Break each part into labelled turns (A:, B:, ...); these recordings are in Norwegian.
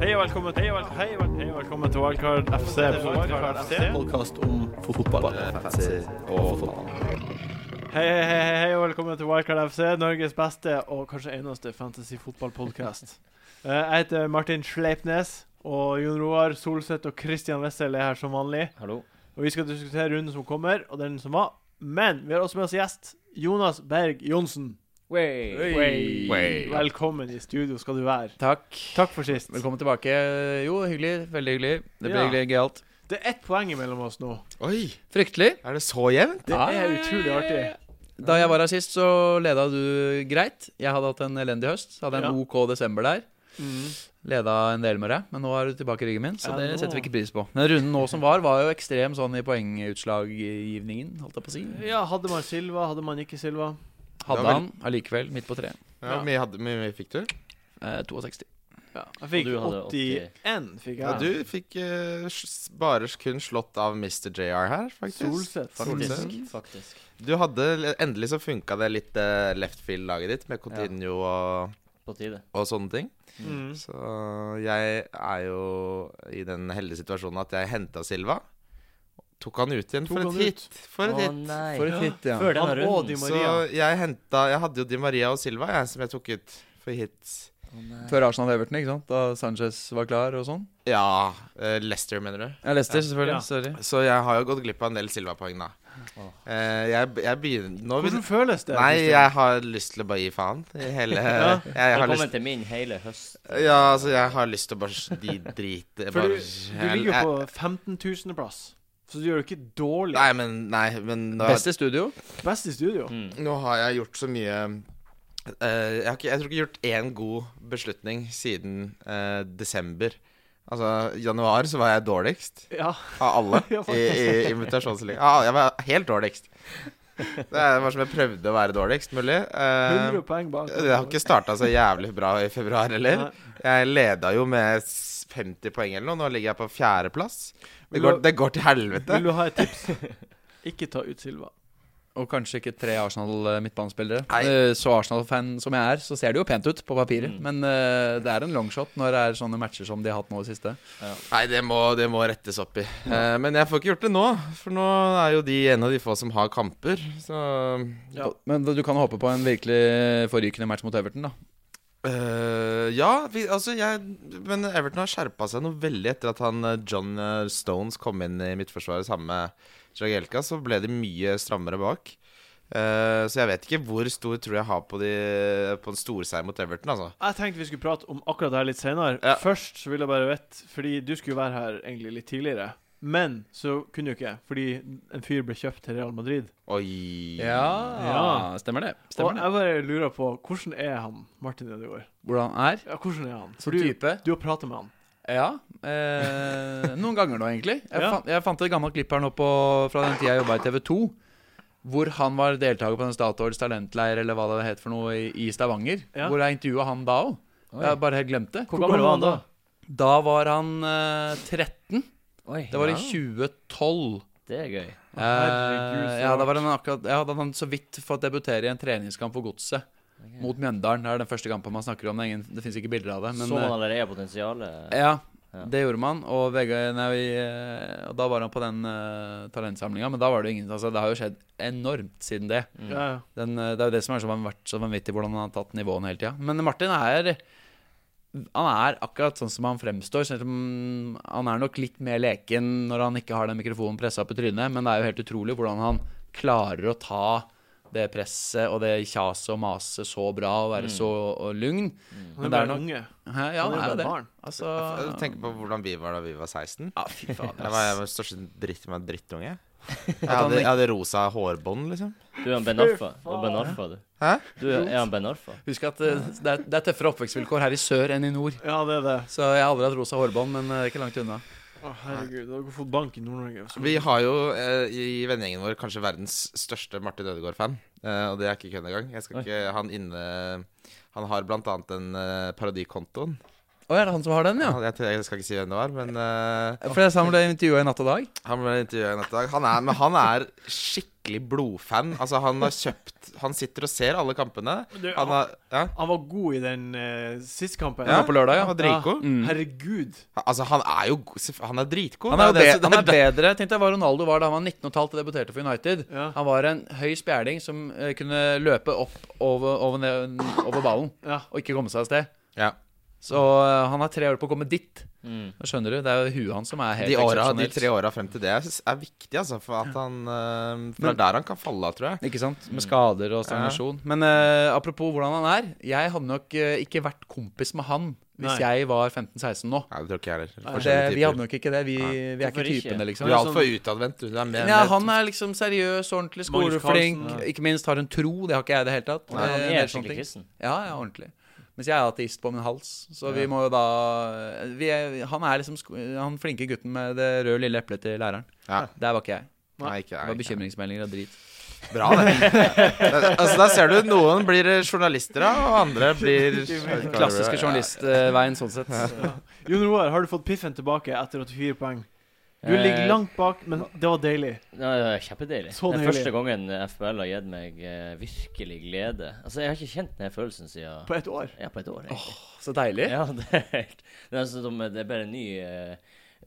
A: Hei og velkommen til Wildcard Hei og vel- hei og velkommen til Wildcard FC. Wildcard FC.
B: Podkast om fotball.
A: Hei, hei, hei, hei, hei og velkommen til Wildcard FC, Norges beste og kanskje eneste fantasy-fotballpodkast. Eh, Jeg heter Martin Sleipnes, og Jon Roar Solseth og Christian Wessel er her som vanlig.
C: Hallo.
A: Og vi skal diskutere runden som kommer, og den som var. Men vi har også med oss gjest Jonas Berg Johnsen.
C: Wey.
A: Wey.
D: Wey.
A: Velkommen i studio skal du være.
D: Takk.
A: Takk for sist.
D: Velkommen tilbake. Jo, hyggelig. Veldig hyggelig. Det blir
A: Ja.
D: hyggelig gøyalt.
A: Det er ett poeng mellom oss nå.
B: Oi,
D: Fryktelig.
B: er det så jevnt?
A: Det
D: Ja,
A: er
D: ja, ja,
A: utrolig
D: ja,
A: artig.
D: ja. Da jeg var her sist, så leda du greit. Jeg hadde hatt en elendig høst. Hadde en
A: Ja.
D: OK desember der. Leda en del med deg, men nå er du tilbake i ryggen min, så
A: Ja,
D: det
A: nå-
D: setter vi ikke pris på. Men runden nå som var, var jo ekstrem sånn i poengutslaggivningen, holdt jeg på å si.
A: Ja, hadde man Silva, hadde man ikke Silva?
B: Det
D: Hadde
B: var
D: han allikevel midt på tre.
B: Ja,
A: Ja.
B: mye, hadde, mye, mye fikk du?
D: Eh, 62.
A: Jeg fikk
C: Og du hadde
A: 81, fikk
B: Ja.
A: jeg.
B: du fikk eh, s- bare kun slått av Mr. JR her, faktisk.
A: Solseth.
B: Solseth.
C: Faktisk. Faktisk.
B: Du hadde Endelig så funka det litt eh, left field-laget ditt med Coutinho og,
C: På tide.
B: og sånne ting.
A: Mm.
B: Så eh, jeg er jo i den heldige situasjonen at jeg henta Silva. Tok han ut igjen
A: Tok
B: for
A: han
B: et hit. For et
C: Å
B: hit.
C: nei.
D: For et hit, ja.
C: Før denne
A: Han og
C: runden.
A: Di
B: Så
A: Maria.
B: jeg henta Jeg hadde jo Di Maria og Silva, jeg, som jeg tok ut for hits.
C: Å nei.
D: Før Arsenal-Everton, ikke sant? Da Sanchez var klar og sånn.
B: Ja, eh, Leicester, mener du?
D: Ja, Leicester, selvfølgelig.
A: Ja.
D: Sorry.
B: Så jeg har jo gått glipp av en del Silva-poeng, da.
C: Åh.
B: Eh, jeg, jeg begynner nå vil,
A: Hvordan føles det?
B: Nei,
A: Kristian?
B: jeg har lyst til å bare gi faen i hele
A: Ja.
B: jeg, har
C: Velkommen
B: lyst,
C: til min hele høst.
B: Ja, altså, jeg har lyst til å bare s- De drite
A: For
B: bare,
A: du, du ligger jo på 15 000.-plass, så du gjør det ikke dårlig.
B: Nei, men, nei, men nå,
D: Beste studio.
A: Best i studio.
C: Mm.
B: nå har jeg gjort så mye eh, jeg, har ikke, jeg tror ikke jeg har gjort én god beslutning siden eh, desember. Altså, januar så var jeg dårligst.
A: Ja.
B: Av alle
A: Ja,
B: i, i invitasjonsligaen. Ah, jeg var helt dårligst. Det er- var som jeg prøvde å være dårligst mulig. Eh,
A: 100 poeng bak.
B: det har ikke starta så jævlig bra i februar heller.
A: Nei.
B: Jeg leda jo med s- 50 poeng eller noe. Nå ligger jeg på fjerdeplass. Det
A: Vil
B: går,
A: du-
B: det går til helvete.
A: Vil du ha et tips? Ikke ta ut Silva.
D: Og kanskje ikke tre Arsenal-midtbanespillere.
B: Nei.
D: Eh, Så Arsenal-fan som jeg er, så ser det jo pent ut på papiret. Men eh, det er en longshot når det er sånne matcher som de har hatt nå i det siste.
B: Nei, det må, det må rettes opp i. Eh, men jeg får ikke gjort det nå, for nå er jo de en av de få som har kamper. Så
A: Ja.
D: Men du kan håpe på en virkelig forrykende match mot Everton, da.
B: Eh, ja, vi, altså jeg Men Everton har skjerpa seg noe veldig etter at han eh, John eh, Stones kom inn i midtforsvaret sammen med Jagielka. Så ble de mye strammere bak. Eh, så jeg vet ikke hvor stor tror jeg har på, de, på en storseier mot Everton, altså.
A: Jeg tenkte vi skulle prate om akkurat det her litt senere.
B: Ja.
A: Først så vil jeg bare vite, fordi du skulle jo være her egentlig litt tidligere. Men så kunne du ikke, fordi en fyr ble kjøpt til Real Madrid.
B: Oi.
A: Ja.
D: Stemmer det.
A: Og
D: Stemmer det.
A: jeg bare lurer på, hvordan er han, Martin Ødegaard?
D: Hvordan er?
A: Ja, hvordan er han?
D: Som
A: du,
D: type?
A: du har pratet med han.
D: Ja. Eh, noen ganger nå, egentlig. Jeg,
A: Ja.
D: fant, jeg fant et gammelt klipp her nå på, fra den tida jeg jobba i TV2. Hvor han var deltaker på den Statoils talentleir eller hva det het for noe i, i Stavanger.
A: Ja.
D: Hvor jeg intervjua han da òg.
C: Oi.
D: Jeg bare helt glemte.
A: Hvor gammel var han da?
D: Da var han eh, 13.
C: Oi,
D: Det var i
C: ja.
D: 2012.
C: Det er gøy.
D: Eh,
A: herregud, så
D: ja, da var
A: rart.
D: han akkurat Ja, da hadde han så vidt fått debutere i en treningskamp for Godset. Mot Mjøndalen. Det er den første kampen man snakker om. Det, er ingen, det fins ikke bilder av det. Men,
C: Så man allerede potensialet?
D: eh, ja,
C: Sånn Ja.
D: det gjorde man. Og, Vegard- nei, eh, og da var han på den uh, talentsamlinga, men da var det jo ingen Altså, det har jo skjedd enormt siden det.
C: Mm.
A: Ja, ja.
D: Den, eh, det er jo det som er så van- vært så vanvittig, hvordan han har tatt nivåene hele tida. Men Martin er Han er akkurat sånn som han fremstår. Selv om han er nok litt mer leken når han ikke har den mikrofonen pressa opp i trynet, men det er jo helt utrolig hvordan han klarer å ta det presset og det kjaset og maset så bra og være så og lugn.
A: Han er
D: Men det er
A: bare
D: nok
A: unge.
D: Hæ? Ja, han er jo det.
A: barn.
B: Jeg
D: Altså
B: tenker på hvordan vi var da vi var 16.
D: Ja, fy faen.
B: Jeg var jeg var største dritt med drittunge. Jeg hadde,
D: han ikke-
B: jeg hadde rosa hårbånd, liksom.
C: Du er en Ben Arfa. Du er Ben Arfa, du.
B: Hæ?
C: Du er er han Ben Arfa?
D: Husk at eh, det er, det er tøffere oppvekstvilkår her i sør enn i nord.
A: Ja, det er det.
D: Så jeg har aldri hatt rosa hårbånd, men eh, ikke langt unna.
A: Å, herregud. Dere har fått bank i Nord-Norge. altså. så-
B: Vi har jo eh, i vennegjengen vår kanskje verdens største Martin Ødegaard-fan. Eh, og det er ikke kødd engang. Jeg skal
C: Oi.
B: ikke Han inne Han har blant annet den eh, parodikontoen
D: Å, er det han som har den, ja?
B: Han- Jeg, jeg skal ikke si hvem det var, men eh,
D: For jeg sa han ble intervjua i Natt og dag.
B: han ble intervjua i Nattdag. Han er, men han er skikkelig blodfan. Altså, han har kjøpt Han sitter og ser alle kampene.
A: Du,
B: Han har Ja,
A: Han var god i den uh, siste kampen.
D: Ja, på lørdag, ja. Mm.
B: han var dritgod.
A: Ja. Herregud.
B: Altså, han er jo go- seff- Han er dritgod.
D: Han er,
B: Det
D: jo
B: det-
D: be han er
B: det-
D: bedre Tenk deg hva Ronaldo var da han var 19 og et halvt og debuterte for United.
A: Ja.
D: Han var en høy spjæling som eh, kunne løpe opp over, over, ned, over ballen
A: Ja.
D: og ikke komme seg av sted.
B: ja.
D: Så eh, han har tre år på å komme dit.
C: Mm.
D: Nå skjønner du, Det er jo huet hans som er helt
B: De, åra, de
D: eksepsjonelt.
B: tre åra frem til det jeg synes er viktig, altså. For at han eh, For det
D: Men-
B: er der han kan falle av, tror jeg.
D: Ikke sant? Med skader og stagnasjon. Men eh, apropos hvordan han er. Jeg hadde nok eh, ikke vært kompis med han
A: Nei.
D: hvis jeg var 15-16 nå.
B: Nei, det tror ikke jeg heller.
D: Det,
B: Forskjellige
D: vi hadde
B: typer.
D: nok ikke det. Vi, vi er
C: Hvorfor
D: ikke
C: ikke?
D: typene,
B: Du
D: liksom.
B: er altfor utadvendt. Du Du er med,
D: Ja,
B: med
D: han er liksom seriøs, ordentlig
A: Magnus
D: skoleflink.
A: Carlsen,
D: Ikke minst har hun tro, det har ikke jeg i det hele tatt.
C: Han
D: Eh, en
C: er
D: del sånne ting.
C: skikkelig kristen.
D: Ja, ja, ordentlig. Mens jeg er ateist på min hals, så vi må jo da eh, vi er, Han er liksom sko- han flinke gutten med det røde lille eplet til læreren.
B: ja.
D: Der var ikke jeg.
B: Nei, ikke
D: Det var
B: jeg. ikke jeg.
D: bekymringsmeldinger og drit.
B: Bra, det. Det- altså, der ser du. Noen blir eh, journalister, da, og andre blir
D: Den klassiske journalistveien, sånn sett.
A: Jon Roar, har du fått piffen tilbake etter 84 poeng? Du
C: Eh,
A: ligger langt bak, men det var deilig.
C: Ja, det er kjempedeilig.
A: Så
C: Den
A: deilig.
C: første gangen FBL har gitt meg eh, virkelig glede. Altså, jeg har ikke kjent denne følelsen siden
A: På ett år.
C: ja, på et år. egentlig.
D: Så deilig.
C: Ja, det er helt Det er, sånn som, det er bare en ny eh,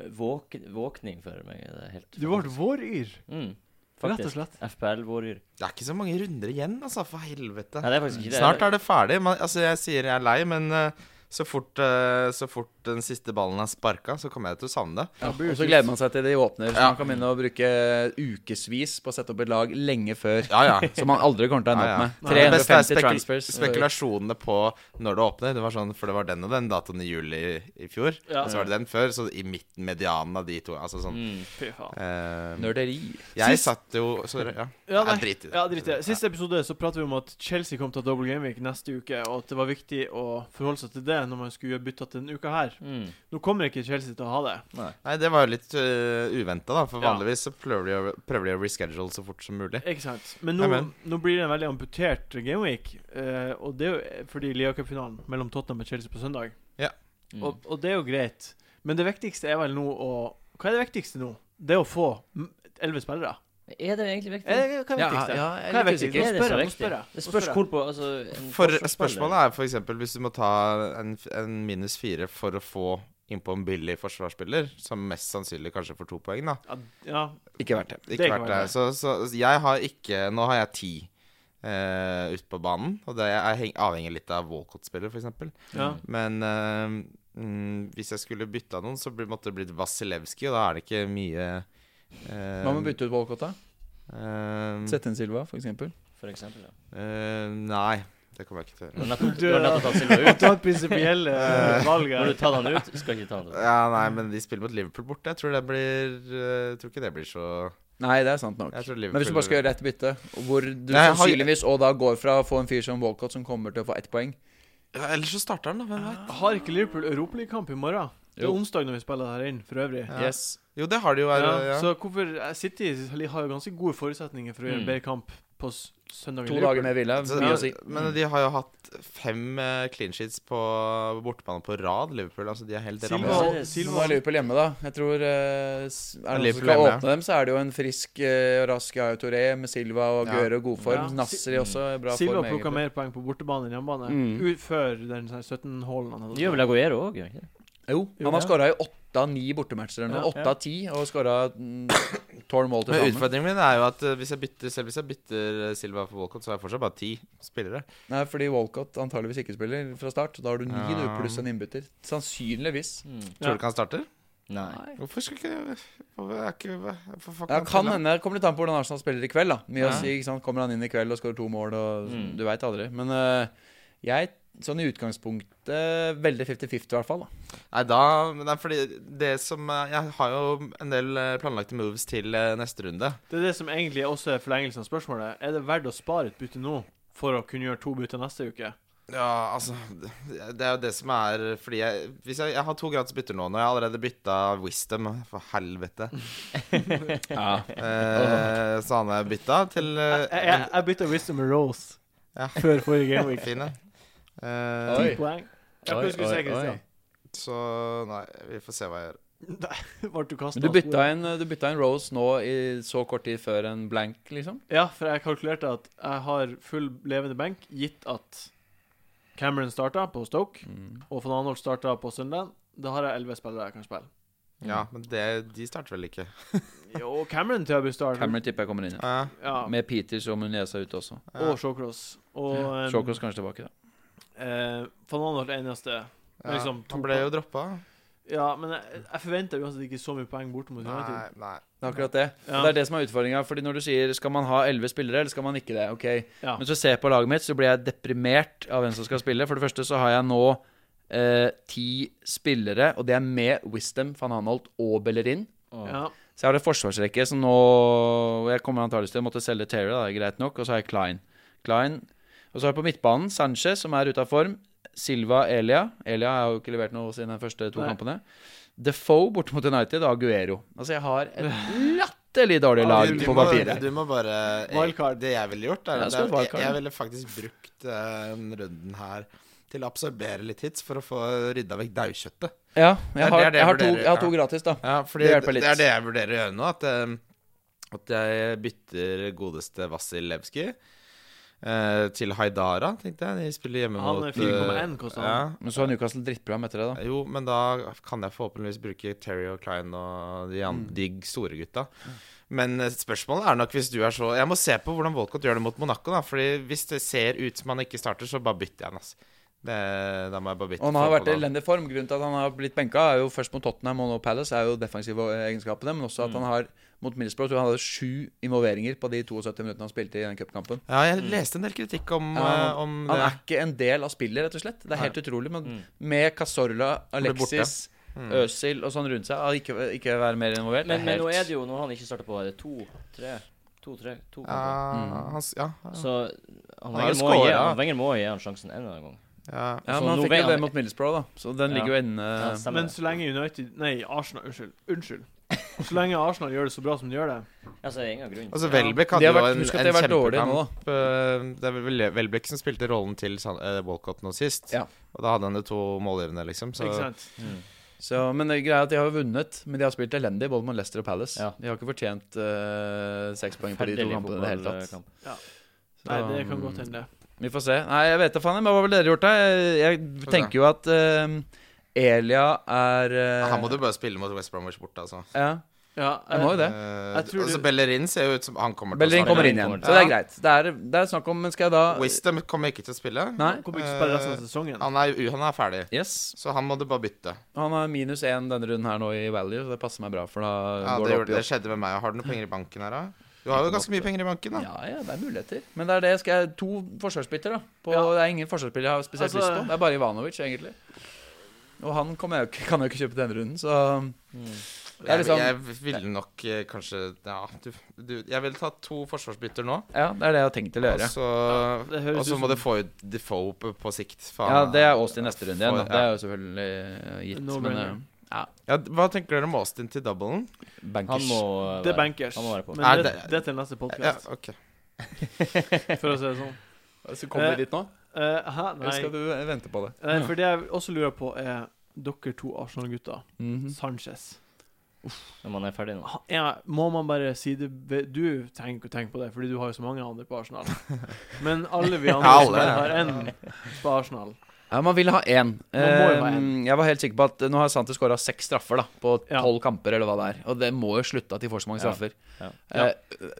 C: våk, våkning for meg. Det er helt
A: Du ble våryr,
C: mm,
A: rett og
C: Faktisk.
A: slett.
C: FPL-våryr.
B: Det er ikke så mange runder igjen, altså. For helvete.
C: Nei, det er faktisk ikke det.
B: Snart er det ferdig. Man, altså, jeg sier jeg er lei, men eh, så fort, eh, så fort den siste ballen er sparka, så kommer jeg til å savne det.
D: Ja, og så gleder man seg til de åpner, så
B: Ja.
D: man kan begynne å bruke ukevis på å sette opp et lag lenge før.
B: Ja, ja.
D: Som man aldri kommer til å ende opp med.
B: Det beste er
D: 350
B: spekul
D: transfers.
B: spekulasjonene på når det åpner. Det var sånn, For det var den og den datoen i juli i fjor.
A: Ja.
B: Og så var det den før. Så i midten, medianen av de to. Altså sånn
C: Mm.
A: Fy faen.
B: eh,
D: Nerderi.
B: Jeg
A: Sist-
B: satt jo Sorry. Ja.
A: Ja,
B: Nei,
A: nei.
B: drit i det.
A: Ja, drit i det. Siste episode så pratet vi om at Chelsea kom til å ha double gameweek neste uke, og at det var viktig å forholde seg til det når man skulle gjøre bytter til denne uka her.
C: Mm.
A: Nå kommer ikke Chelsea til å ha det.
B: Nei, det var jo litt uh, uventa, da. For
A: Ja.
B: vanligvis så prøver de, å, prøver de å reschedule så fort som mulig.
A: Ikke sant. Men nå,
B: Amen.
A: nå blir det en veldig amputert gameweek, eh, og det er jo fordi Lia-cupfinalen mellom Tottenham og Chelsea på søndag.
C: Mm.
A: Og, og det er jo greit. Men det viktigste er vel nå å Hva er det viktigste nå? Det er å få m- elleve spillere.
C: Er det egentlig viktig?
A: Er det, hva er det
D: Ja,
A: viktigste?
D: ja, jeg er
A: hva er det
D: litt
A: viktigste?
C: Er
A: Nå
C: det så
A: spør jeg. Nå
C: viktig?
A: spør jeg.
C: Det
A: Nå
C: spørs
A: spør jeg.
C: hvor på altså, en
B: For
C: forsvarsspiller.
B: Spørsmålet er f.eks. hvis du må ta en, en minus fire for å få innpå en billig forsvarsspiller, som mest sannsynlig kanskje får to poeng, da.
A: Ja, ja,
D: Ikke verdt det.
A: Det
B: Ikke
A: kan
B: vært
A: være
B: det. Så, så jeg har ikke Nå har jeg ti uh, ute på banen. Og det er heng- avhenger litt av Walcott-spiller, f.eks.
A: ja.
B: Men eh, mm, hvis jeg skulle bytta noen, så bli- måtte det blitt Vasilevskij, og da er det ikke mye eh,
D: Hva med å bytte ut Walcott, da?
B: eh,
D: Sette inn Silva, for eksempel.
C: For eksempel, ja.
B: eh, Nei, det kommer jeg ikke til å
C: Du
B: gjøre.
C: har nettopp,
A: Du-
C: du har nettopp tatt Silva ut.
A: Ta et prinsipielle eh, valg
C: Når
A: her.
C: du tar han ut, skal ikke ta han ut.
B: Ja, nei, men de spiller mot Liverpool borte. Jeg tror det blir eh, Jeg tror ikke det blir så
D: Nei, det er sant nok.
B: Jeg tror
D: Men hvis du
B: Liverpool
D: bare skal gjøre ett bytte, hvor du
B: Nei, jeg har-
D: sannsynligvis og da går fra å få en fyr som Walcott, som kommer til å få ett poeng
B: ja, Eller så starter han, da. Hvem vet?
A: Har ikke Liverpool europaligakamp i morgen? Det er
D: Jo.
A: onsdag når vi spiller det her inn, for øvrig.
B: Ja.
D: Yes
B: Jo, det har de jo. her,
A: Ja,
B: ja.
A: Så hvorfor eh, City har jo ganske gode forutsetninger for å gjøre en
C: Mm.
A: bedre kamp på s- søndag. i
D: To
A: Liverpool.
D: dager med hvile.
B: Så-
D: Mye å si.
B: Altså, Men de har jo hatt fem eh, clean sheets på bortebane på rad, Liverpool. Altså de er helt
A: Silva,
B: rammet.
D: Så
C: rammer.
D: nå
A: Silva
D: er Liverpool hjemme, da. Jeg tror eh, s- Er det noen som
B: Liverpool
D: skal
B: hjemme.
D: åpne dem, så er det jo en frisk eh, og rask Gaio Touré med Silva og
B: Ja.
D: Gøre i god form.
A: Ja. Mm.
D: Nasri også i bra
A: Silva
D: form.
A: plukka
D: egentlig.
A: mer poeng på bortebane enn hjemmebane.
D: Mm.
A: Ut før den 17-hålen han
C: Gjør vel Aguero òg, gjør han ikke det?
D: Jo,
A: Jo,
D: han har
A: ja.
D: skåra i åtte av ni bortematcher eller
A: Ja,
D: noe. Åtte
A: ja.
D: av ti, og skåra tolv mål til
B: Men
D: sammen.
B: utfordringen min er jo at eh, hvis jeg bytter, selv hvis jeg bytter eh, Silva for Walcott, så har jeg fortsatt bare ti spillere.
D: Nei, fordi Walcott antageligvis ikke spiller fra start. Da har du ni du,
B: Ja.
D: pluss en innbytter. Sannsynligvis.
C: Mm.
B: Tror du ikke han starter?
C: Nei.
B: Hvorfor skal ikke Hvorfor er ikke hvorfor fuck
D: Ja,
B: han
D: kan
B: spille?
D: hende. Kommer litt an på hvordan Arsenal spiller i kveld. da Mye
B: Ja.
D: å si, ikke sant? Kommer han inn i kveld og skårer to mål, og
C: Mm.
D: du veit aldri. Men eh, jeg, sånn i utgangspunktet, veldig 50-50 i hvert fall. da
B: Nei, da Nei, fordi det som eh, Jeg har jo en del eh, planlagte moves til eh, neste runde.
A: Det er det som egentlig også er forlengelsen av spørsmålet. Er det verdt å spare et bytte nå for å kunne gjøre to bytter neste uke?
B: Ja, altså Det det er jo det som er Fordi jeg, hvis jeg, jeg har to gratis bytter nå, når jeg har allerede bytta Wisdom For helvete. Eh, så han har jeg bytta til eh,
A: Jeg, jeg, jeg bytta Wisdom med Rose
B: Ja.
A: før forrige gameweek.
B: Fin, ja.
D: Oi.
B: Eh,
A: Ti poeng. Jeg
D: Oi,
A: skulle si
D: oi,
A: Christian.
D: oi.
B: Så nei, vi får se hva jeg gjør.
A: Ble du kastet
D: Men du
A: av
D: bytta,
A: sporet?
D: inn, eh, du bytta inn Rose nå i så kort tid før en blank, liksom?
A: Ja, for jeg kalkulerte at jeg har full levende benk, gitt at Cameron starta på Stoke,
D: Mm.
A: og van Anholt starta på Sunderland. Da har jeg elleve spillere jeg kan spille.
B: Ja, men det, de starter vel ikke.
A: Jo, Cameron til å bli starter.
D: Cameron tipper jeg kommer inn i.
B: Ja,
A: Ja,
D: Med Peters og Muneza ute også.
B: ja.
A: og Shawcross. Og em,
D: Sjåkos kanskje tilbake, da.
A: eh, van Anholt er eneste.
B: ja.
A: liksom to
B: Han ble jo droppa.
A: Ja, men jeg, jeg forventer uansett ikke så mye poeng bort mot
B: Nei,
A: United.
B: nei.
D: Det er akkurat det. Og
A: Ja.
D: Det er det som er utfordringa. Fordi når du sier skal man ha elleve spillere, eller skal man ikke det? Ok.
A: Ja.
D: Men så ser jeg på laget mitt, så blir jeg deprimert av hvem som skal spille. For det første så har jeg nå eh, ti spillere, og det er med Wisdom, van Hanholt og Bellerin.
A: Ja.
D: Så jeg har en forsvarsrekke som nå Jeg kommer antakeligvis til å måtte selge Terry, da, det er greit nok. Og så har jeg Klein. Klein. Og så har jeg på midtbanen Sanchez, som er ute av form. Silva Elia. Elia har jo ikke levert noe siden de første to
A: Nei.
D: kampene. Defoe borte mot United og Aguero. Altså, jeg har et latterlig dårlig
A: Ja,
D: lag
A: du-
D: på
B: må,
D: papiret.
B: du må bare jeg,
A: Wildcard.
B: Det jeg ville gjort, er
D: Ja,
B: at
D: skal
B: jeg,
D: du wildcard,
B: jeg,
D: ja.
B: ville faktisk brukt eh, den runden her til å absorbere litt hits for å få rydda vekk daukjøttet.
D: Ja,
B: Det er
D: jeg har,
B: det jeg
D: jeg har, to,
B: vurderer,
D: jeg har to
B: ja.
D: gratis, da.
B: Ja, fordi
D: Det
B: det,
D: hjelper litt.
B: er det jeg vurderer å gjøre nå. At, eh, at jeg bytter godeste Vasil Levski eh, til Haidara, tenkte jeg. De spiller hjemme
A: Han er
B: mot
A: 4,1 koster
B: eh, ja.
A: han.
D: Men så har Newcastle drittprogram etter det, da.
B: Jo, men da kan jeg forhåpentligvis bruke Terry og Klein og de,
D: Mm.
B: an- de store gutta. Men eh, spørsmålet er nok hvis du er så Jeg må se på hvordan Walcott gjør det mot Monaco. da Fordi hvis det ser ut som han ikke starter, så bare bytter jeg han. Altså. Det, da må jeg bare bytte.
D: Og han har
B: folk
D: vært i
B: på navn.
D: elendig form. Grunnen til at han har blitt benka, er jo først mot Tottenham og nå Palace, er jo defensive egenskapene, men også at
B: Mm.
D: han har mot Middlesbrough tror jeg han hadde sju involveringer på de 72 minuttene han spilte i den cupkampen.
B: Ja, jeg leste en del kritikk om,
D: Mm. Ja,
B: eh, om
D: Han
B: det. Mm.
D: er ikke en del av spillet, rett og slett. Det er helt utrolig. Men med Casorla,
B: blir borte. Mm.
D: Alexis, Øzil og sånn rundt seg, ah, ikke, ikke være mer involvert.
C: Men, men nå er
D: helt
C: det jo, når han ikke starter på, er det to, tre, to, tre, to
B: Ja,
C: kamper.
D: Mm.
B: han, s- ja,
C: Så han
B: Han har jo
C: Wenger må, gi,
B: scoret.
C: han- Wenger må gi han sjansen en eller annen gang.
B: ja.
D: ja,
C: Så
D: men han
C: nå
D: fikk
C: vet
D: jo
C: han-
D: det mot Middlesbrough, da. Så den
C: Ja.
D: ligger jo inne.
C: Ja, stemmer
A: Men
C: det.
A: så lenge United Nei, Arsenal. Unnskyld. Unnskyld. Så lenge Arsenal gjør det så bra som de gjør det
C: Ja, så er det ingen grunn.
B: Altså Welbeck
D: De
B: hadde
D: har
B: jo
D: vært-
B: en,
D: husk at
B: en
D: de har vært dårlige nå,
B: kjempekamp. eh, Det er vel Welbeck som spilte rollen til San- eh, Walcott nå sist.
D: Ja.
B: Og da hadde han jo to målgivende, liksom. Så
A: Ikke sant?
C: Mm.
D: Så, men det er greia er at de har jo vunnet, men de har spilt elendig både mot Leicester og Palace.
C: Ja.
D: De har ikke fortjent eh, seks poeng på de to
C: Forferdelig eh,
D: kampene i det hele tatt.
C: fotballkamp.
A: Nei, det kan
D: um,
A: godt hende.
D: Vi får se. Nei, jeg vet da faen. Men hva ville dere gjort, da? Jeg- Jeg
B: se.
D: tenker jo at eh, Elia er eh,
B: her må du bare spille mot West Bromwich borte, altså.
D: ja,
A: Ja,
D: jeg må jo det.
B: Eh,
A: Jeg tror
B: altså
A: du-
B: Bellerin ser jo ut som han kommer til
D: Bellerin
B: å
D: kommer
B: starte.
D: inn igjen,
C: Bellerin
D: så det er
B: Ja.
D: greit. Det er, det er snakk om Men skal jeg da
B: Wisdom kommer ikke til å spille.
D: Nei?
A: Han eh, kommer ikke til å spille resten av sesongen.
B: Han er, han er ferdig,
D: Yes.
B: så han må du bare bytte.
D: Han har minus én denne runden her nå i value, så det passer meg bra, for da
B: Ja,
D: går
B: det,
D: det
B: gjorde-
D: opp i
B: det skjedde med meg. Har du noen penger i banken her, da? Du har jo ganske mye penger i banken, da.
D: Ja, ja, det er muligheter. Men det er det. Skal jeg to forsvarsbytter, da? På,
A: Ja.
D: Det er ingen forsvarsspiller jeg har spesielt
A: Altså-
D: lyst på. Det er bare Ivanovic, egentlig. Og han kommer jeg, jo ikke- kan jeg jo ikke kjøpe denne runden, så det er
B: Jeg,
D: liksom-
B: jeg ville nok eh, kanskje Ja, du, du Jeg ville tatt to forsvarsbytter nå,
D: ja, det er det jeg har tenkt til å
B: og
D: gjøre.
B: så,
A: det høres
B: og så
A: ut
B: må
A: som-
B: du få ut Defoe på, på sikt. faen. eh.
D: Ja, det er Austin neste runde igjen. da.
B: For-
D: Det er jo selvfølgelig eh, gitt.
A: No
D: men
A: brainer.
D: eh, ja,
B: Ja, hva tenker dere om Austin til doublen?
C: Han
D: bankers.
C: må
A: Det er bankers.
C: Han må være på.
A: Men
B: Nei,
A: det,
B: det-
A: det er til neste
B: Ja,
A: podkast,
B: ok
A: for å si det sånn.
D: Så
A: kommer vi
D: dit nå?
A: Eh, hæ? Nei.
D: du vente på det?
A: Nei, For det jeg også lurer på, er dere to Arsenal-gutter.
D: Mhm.
A: Sanchez.
C: Når man er ferdig nå.
A: Ha- Ja, må man bare si det be- Du tenker tenk på det, fordi du har jo så mange andre på Arsenal. Men alle vi andre
B: Ja, alle,
A: som bare
B: ja.
A: har én på Arsenal
D: Ja, man vil ha én.
A: Man må jo ha
D: Eh,
A: én.
D: Jeg var helt sikker på at eh, nå har Santi skåra seks straffer da på
A: Ja.
D: tolv kamper, eller hva det er. Og det må jo slutte at de får så mange
C: Ja.
D: straffer.
C: Ja.
D: Eh,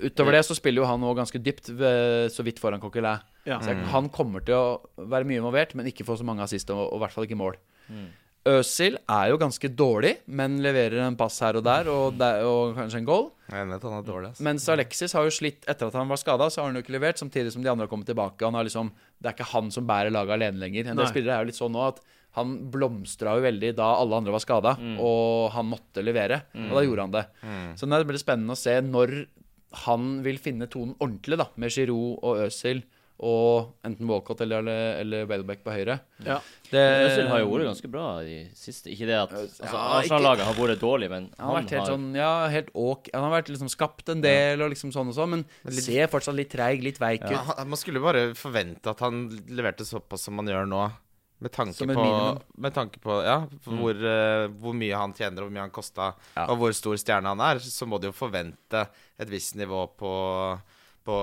D: utover det så spiller jo han nå ganske dypt, ved, så vidt foran Coquelin.
A: Ja.
D: Så jeg- Han kommer til å være mye involvert, men ikke få så mange assist, og, og i hvert fall ikke mål.
C: Mm.
D: Øsil er jo ganske dårlig, men leverer en pass her og der, og, der, og kanskje en goal.
B: Jeg er enig i at han er dårlig. altså. ass.
D: Mens Alexis har jo slitt etter at han var skada, så har han jo ikke levert, samtidig som de andre har kommet tilbake. Han har liksom, det er ikke han som bærer laget alene lenger. En
A: Nei.
D: del spillere er jo litt sånn nå at han blomstra jo veldig da alle andre var skada, og han måtte levere. Og da gjorde han det. Så det blir spennende å se når han vil finne tonen ordentlig, da, med Giroud og Øsil og enten Walcott eller, eller Welbeck på høyre.
A: Ja.
D: Det,
C: Øzil har jo vært ganske bra i siste. Ikke det at altså,
D: Ja, ikke-
C: Arsenal-laget har vært dårlig, men
D: Han har vært helt sånn, ja, helt åk. Han har vært liksom skapt en del og liksom sånn og sånn, men ser fortsatt litt treig, litt veik ut.
B: Ja, han- man skulle bare forvente at han leverte såpass som han gjør nå. Med tanke,
D: Som et
B: på,
D: minimum.
B: med tanke på ja, for hvor, eh, hvor mye han tjener, og hvor mye han kosta,
D: Mm. Ja.
B: og hvor stor stjerne han er, så må de jo forvente et visst nivå på, på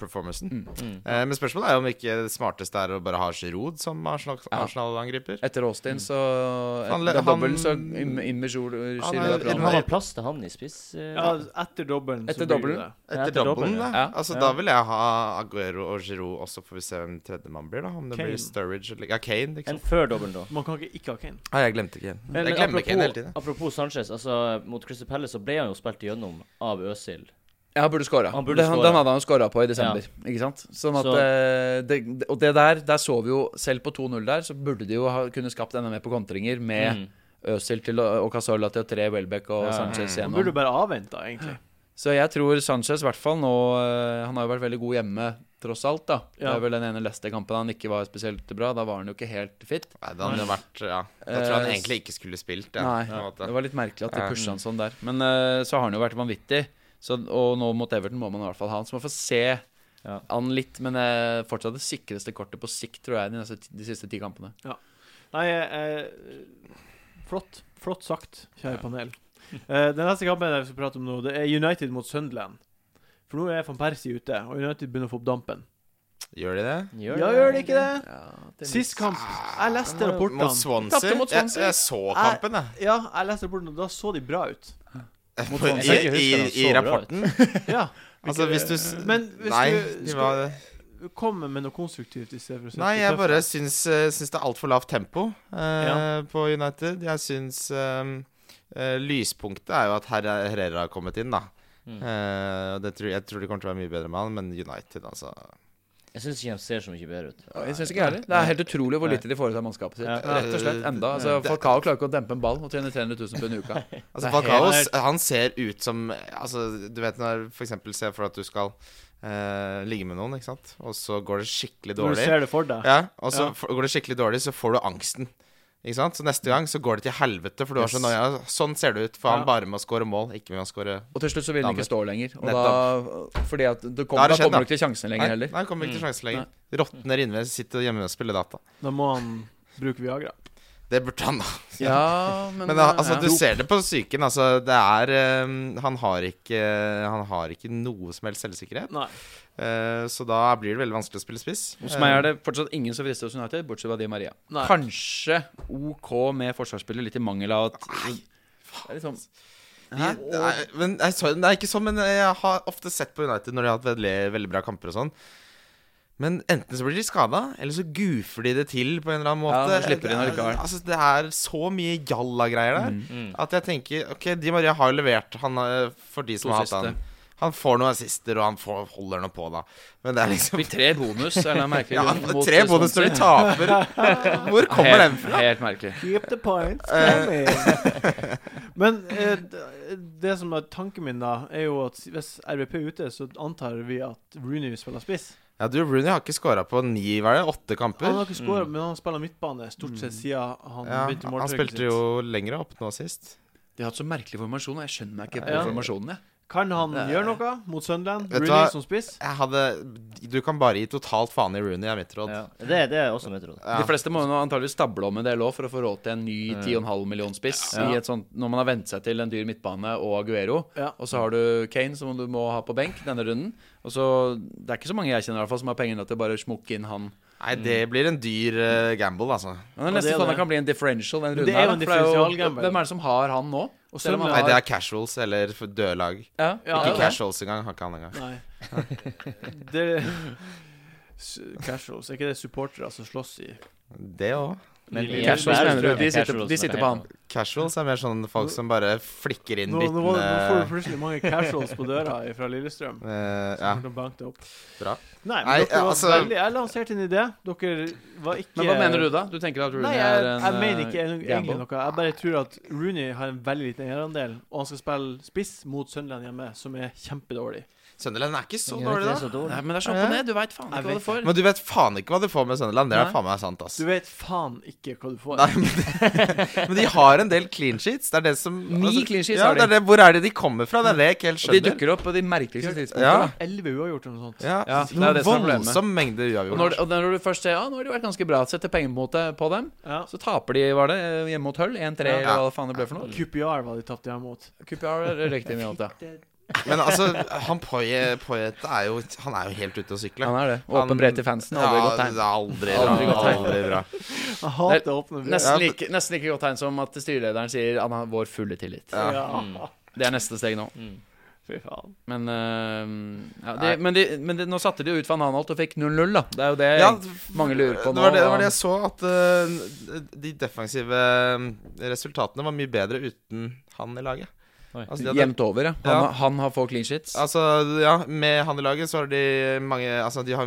B: performancen.
D: Mm.
B: Eh, men spørsmålet er jo om ikke det smarteste er å bare ha Giroud som Arsenal-
D: Ja.
B: Arsenal-angriper.
D: Etter
C: Mm.
D: Austin, så
B: Han-
D: Etter
B: han-
D: dobbelen, så inn inn med Giroud
B: Han er-
D: Giroud er bra.
B: Ja,
C: Han
B: men-
C: har plass til han i spiss. eh,
A: Ja, etter dobbelen så
D: Etter
A: blir
D: dobbelen.
A: det det.
B: Etter,
C: etter
B: dobbelen,
C: dobbelen,
B: da.
D: ja.
B: Altså,
C: Ja.
B: Da vil jeg ha Aguero og Giroud, og så får vi se hvem tredjemann blir, da. Om det
A: Kane.
B: blir Sturridge eller Ja, Kane,
C: En
B: liksom.
C: før dobbelen, da.
A: Man kan ikke ikke ha Kane.
B: Nei, jeg glemte Kane.
C: Men-
B: jeg
C: men
B: glemmer Kane hele
C: apropos,
B: tiden.
C: apropos Sanchez, altså mot Crystal Palace så ble han jo spilt igjennom av Øsil.
D: Ja, han burde skåra.
C: Han
D: Den,
C: burde score.
D: den hadde han skåra på i desember. Ikke sant? Sånn at
C: Så-
D: eh, det, det- Og det der, der så vi jo Selv på 2-0 der, så burde de jo ha, kunne skapt enda mer på kontringer med
C: Mm.
D: Øzil til å- og Casola til å tre Welbeck og
C: Ja.
D: Sanchez
A: Man burde
D: igjennom.
A: bare avvente, egentlig.
D: Så jeg tror Sanchez i hvert fall nå eh, Han har jo vært veldig god hjemme, tross alt. da Det
A: Ja.
D: er vel den ene Leicester-kampen han ikke var spesielt bra. Da var han jo ikke helt fit.
B: Nei, det hadde jo vært Ja. Jeg tror han
D: Eh,
B: egentlig ikke skulle spilt, ja,
D: Nei,
B: på en måte.
D: det var litt merkelig at de
B: Ja.
D: pusha han sånn der. Men eh, så har han jo vært vanvittig. Så, og nå mot Everton må man i hvert fall ha han. Så man får se
C: Ja.
D: han litt. Men eh, fortsatt det sikreste kortet på sikt, tror jeg, de, neste, ti- de siste ti kampene.
A: Nei, eh, flott. Flott sagt, kjære panel. Eh, den neste kampen jeg skal prate om nå, det er United mot Sunderland. For nå er van Persie ute, og United begynner å få opp dampen.
B: Gjør de det?
A: Ja, gjør det ikke det?
D: Ja,
A: Sist kamp Jeg leste rapportene.
B: Mot Swansea?
D: Tapte mot
B: Jeg,
D: Swansea.
B: jeg så kampen, jeg.
A: Ja, jeg leste rapporten, og da så de bra ut.
C: Mot
B: I,
C: Swansea, jeg husker
B: i,
C: han
B: i
C: så bra ut.
B: rapporten.
A: Ja.
B: Altså, hvis du s-
A: Men hvis
B: Nei,
A: du
B: de
A: skal
B: var
A: komme med noe konstruktivt i stedet for å sitte
B: Nei, jeg
A: og
B: bare
A: tøffe.
B: syns, eh, syns det er altfor lavt tempo eh,
A: Ja.
B: på United. Jeg syns eh, eh, Lyspunktet er jo at Herr Herrera har kommet inn, da.
C: Mm.
B: Eh, og det tror, jeg tror det kommer til å være mye bedre med han, men United, altså
C: Jeg syns ikke de ser så mye bedre ut.
D: Jeg syns ikke jeg heller. Det er helt utrolig hvor lite de foretar mannskapet sitt.
C: Ja.
D: Rett og slett. Enda. Altså,
B: Det-
D: Falcao klarer ikke å dempe en ball og tjene 300 000 pund i uka.
B: Altså,
D: Det er
B: Falcao
A: helt-
B: s- han ser ut som Altså, du vet når for eksempel ser for at du skal eh, ligge med noen, ikke sant, og så går det
A: Når
B: skikkelig
A: du
B: dårlig.
A: ser det for deg.
B: Ja, og så
A: Ja.
B: f- går det skikkelig dårlig, så får du angsten. Ikke sant? Så neste gang så går det til helvete, for du har så
D: Yes.
B: nøye. Sånn ser det ut, for
A: Ja.
B: han bare med å score mål, ikke med å score
D: Og til slutt så vil den ikke stå lenger. Og da, fordi at det
B: Da har
D: kommer,
B: det
D: da
B: skjedd,
D: kommer
B: da.
D: du ikke til sjansen
B: Nei,
D: lenger heller.
B: nei, kommer
A: Mm.
B: ikke til sjansen lenger. Råtner inne, sitter hjemme og spiller data.
A: Da må han bruke Viagra.
B: Det burde han, da.
D: Ja, men,
B: Men al- altså,
D: ja.
B: du ser det på psyken. Altså, det er eh, Han har ikke Han har ikke noe som helst selvsikkerhet.
A: Nei.
B: Eh, så da blir det veldig vanskelig å spille spiss.
D: Hos meg er det fortsatt ingen som frister hos United, bortsett fra Di Maria.
A: Nei.
D: Kanskje OK med forsvarsspiller, litt i mangel av at Det er
B: altså.
D: litt sånn-
B: Hæ? Nei, men, nei, sorry, det er ikke sånn, men jeg har ofte sett på United når de har hatt veldig, veldig bra kamper og sånn. Men enten så blir de skada, eller så goofer de det til på en eller annen
D: Ja,
B: måte.
D: så slipper de inn allikevel.
B: altså, det Mm. er så mye jalla-greier der
D: Mm.
B: at jeg tenker OK, Di Maria har jo levert han, eh, for de som
D: To
B: har hatt
D: siste.
B: han. Han får noen assister, og han får, holder noe på, da. Men det er liksom
D: Fikk tre bonus, eller noe merkelig.
B: ja,
D: grunn, mot
B: Tre bonus når de taper. Hvor kommer
D: helt,
B: den fra?
D: Helt merkelig.
A: Keep the points
B: Eh.
A: Men eh, d- det som er tanken min, da, er jo at hvis RBP er ute, så antar vi at Rooney spiller spiss.
B: Ja, du, Rooney har ikke scora på ni, hva er det, åtte
A: Han
B: kamper?
A: har ikke skåret, men han spiller midtbane stort sett siden han
B: Ja,
A: begynte
B: han
A: måltrykket
B: spilte
A: sitt.
B: jo lengre opp nå sist.
D: De har hatt så merkelig formasjon, og jeg skjønner meg ikke på
A: Ja.
D: formasjonen. Jeg.
A: Kan han
D: Det-
A: gjøre noe mot Sunderland?
B: Vet du
A: Rooney
B: hva?
A: som spiss?
B: Jeg hadde Du kan bare gi totalt faen i Rooney, er mitt råd.
C: Ja. Det, det er også mitt råd.
B: Ja.
D: De fleste må jo nå antageligvis stable om en del òg for å få råd til en ny 10,5 million spiss.
C: Ja.
D: I et sånt, når man har vent seg til en dyr midtbane og Aguero.
A: Ja.
D: Og så har du Kane, som du må ha på benk denne runden. Og så, Det er ikke så mange jeg kjenner i hvert fall som har penger nok til å bare smukke inn han.
B: Nei, det blir en dyr eh, gamble, altså.
D: Men det er
A: Og det
D: nesten
A: er
D: sånn
A: det.
D: det kan bli en differential. Den
A: Men
D: runden
A: det er jo
D: her,
A: en
D: da, for det er
A: differential gamble.
D: Hvem er det som har han nå?
A: Og
D: Selv om han
A: Sunderland
B: Nei, det
A: har-
B: er casuals eller for døde lag.
D: Ja,
A: Ja,
B: Ikke
A: det er det.
B: casuals engang. Har ikke han engang.
A: Nei. det Su- Casuals, er ikke det supportere som slåss i
B: Det òg.
C: Men
A: Lille-
C: igjen,
D: Casuals
C: der
D: mener du?
C: tror jeg
D: De sitter-
C: casuals
D: de sitter
C: mener
D: på han.
C: helt annet.
B: Casuals er mer sånn folk som bare flikker inn
A: Nå, nå, var- nå får du
B: byttene.
A: plutselig mange casuals på døra fra Lillestrøm.
B: eh,
A: Ja.
B: ja.
A: Bank det opp.
B: Bra.
A: Nei, men
B: Nei,
A: dere var
B: altså-
A: veldig Jeg lanserte en idé. Dere var ikke
D: Men hva mener du, da? Du tenker at Rooney
A: Nei, jeg,
D: er en
A: jeg mener
D: eh,
A: ikke en- egentlig
D: gamble?
A: noe. Jeg bare tror at Rooney har en veldig liten eierandel, og han skal spille spiss mot Sunderland hjemme, som er kjempedårlig.
B: Sunderland er ikke så
C: Jeg vet
B: dårlig,
C: det
B: da.
C: er så dårlig.
D: Nei, men det er så opp og ned. Du veit faen ikke hva du får.
B: Men du vet faen ikke hva du får med Sunderland. Det er
D: Nei.
B: faen meg sant, ass.
A: Du vet faen ikke hva du får.
B: Nei, men, men de har en del clean sheets. Det er det som
D: Ni clean
B: Altså,
D: sheets
B: ja,
D: har de.
B: Det er det, hvor er det de kommer fra? Det er det jeg ikke helt
D: Og de
B: skjønner.
D: dukker opp på de
B: Ja.
D: merkeligste tidspunktene. da.
A: Elleve uavgjort eller noe sånt.
B: Ja,
D: Ja, det er
B: Noen
D: det som er problemet.
B: voldsom mengde
D: Og, når,
B: uavgjort.
D: og når du først ser ja, nå har de vært ganske bra, setter penger på, mot- på dem,
A: Ja.
D: så taper de, var det, eh, hjemme mot Hull 1-3
A: Ja.
D: eller hva faen det ble for noe.
A: QPR var de tapte hjemme mot.
D: QPR røyk inn i alt, ja.
B: Men altså, han Poyet er jo Han er jo helt ute å sykle.
D: Han er det.
B: Han-
D: Åpen brev til fansen. Aldri
B: Ja,
D: godt tegn.
B: det er aldri bra.
D: Aldri
B: Aldri,
D: godt tegn.
B: bra.
A: Jeg hater åpne brev.
D: Nesten like, nesten like godt tegn som at styrelederen sier han har vår fulle tillit.
B: Ja.
D: Mm.
A: Ja.
D: Det er neste steg nå.
C: Mm.
A: Fy faen.
D: Men, øh, ja, de, men, de, men de, nå satte de jo ut van Anholt og fikk 0-0, da. Det er jo det
B: Ja,
D: mange lurer på
B: det
D: nå. um,
B: var det, det var det jeg
D: og-
B: så, at eh, de defensive resultatene var mye bedre uten han i laget.
C: Oi.
B: Altså, de hadde-
D: Jevnt over, ja. Han,
B: Ja.
D: han har få clean sheets.
B: Altså, ja, med han i laget så har de mange Altså, de har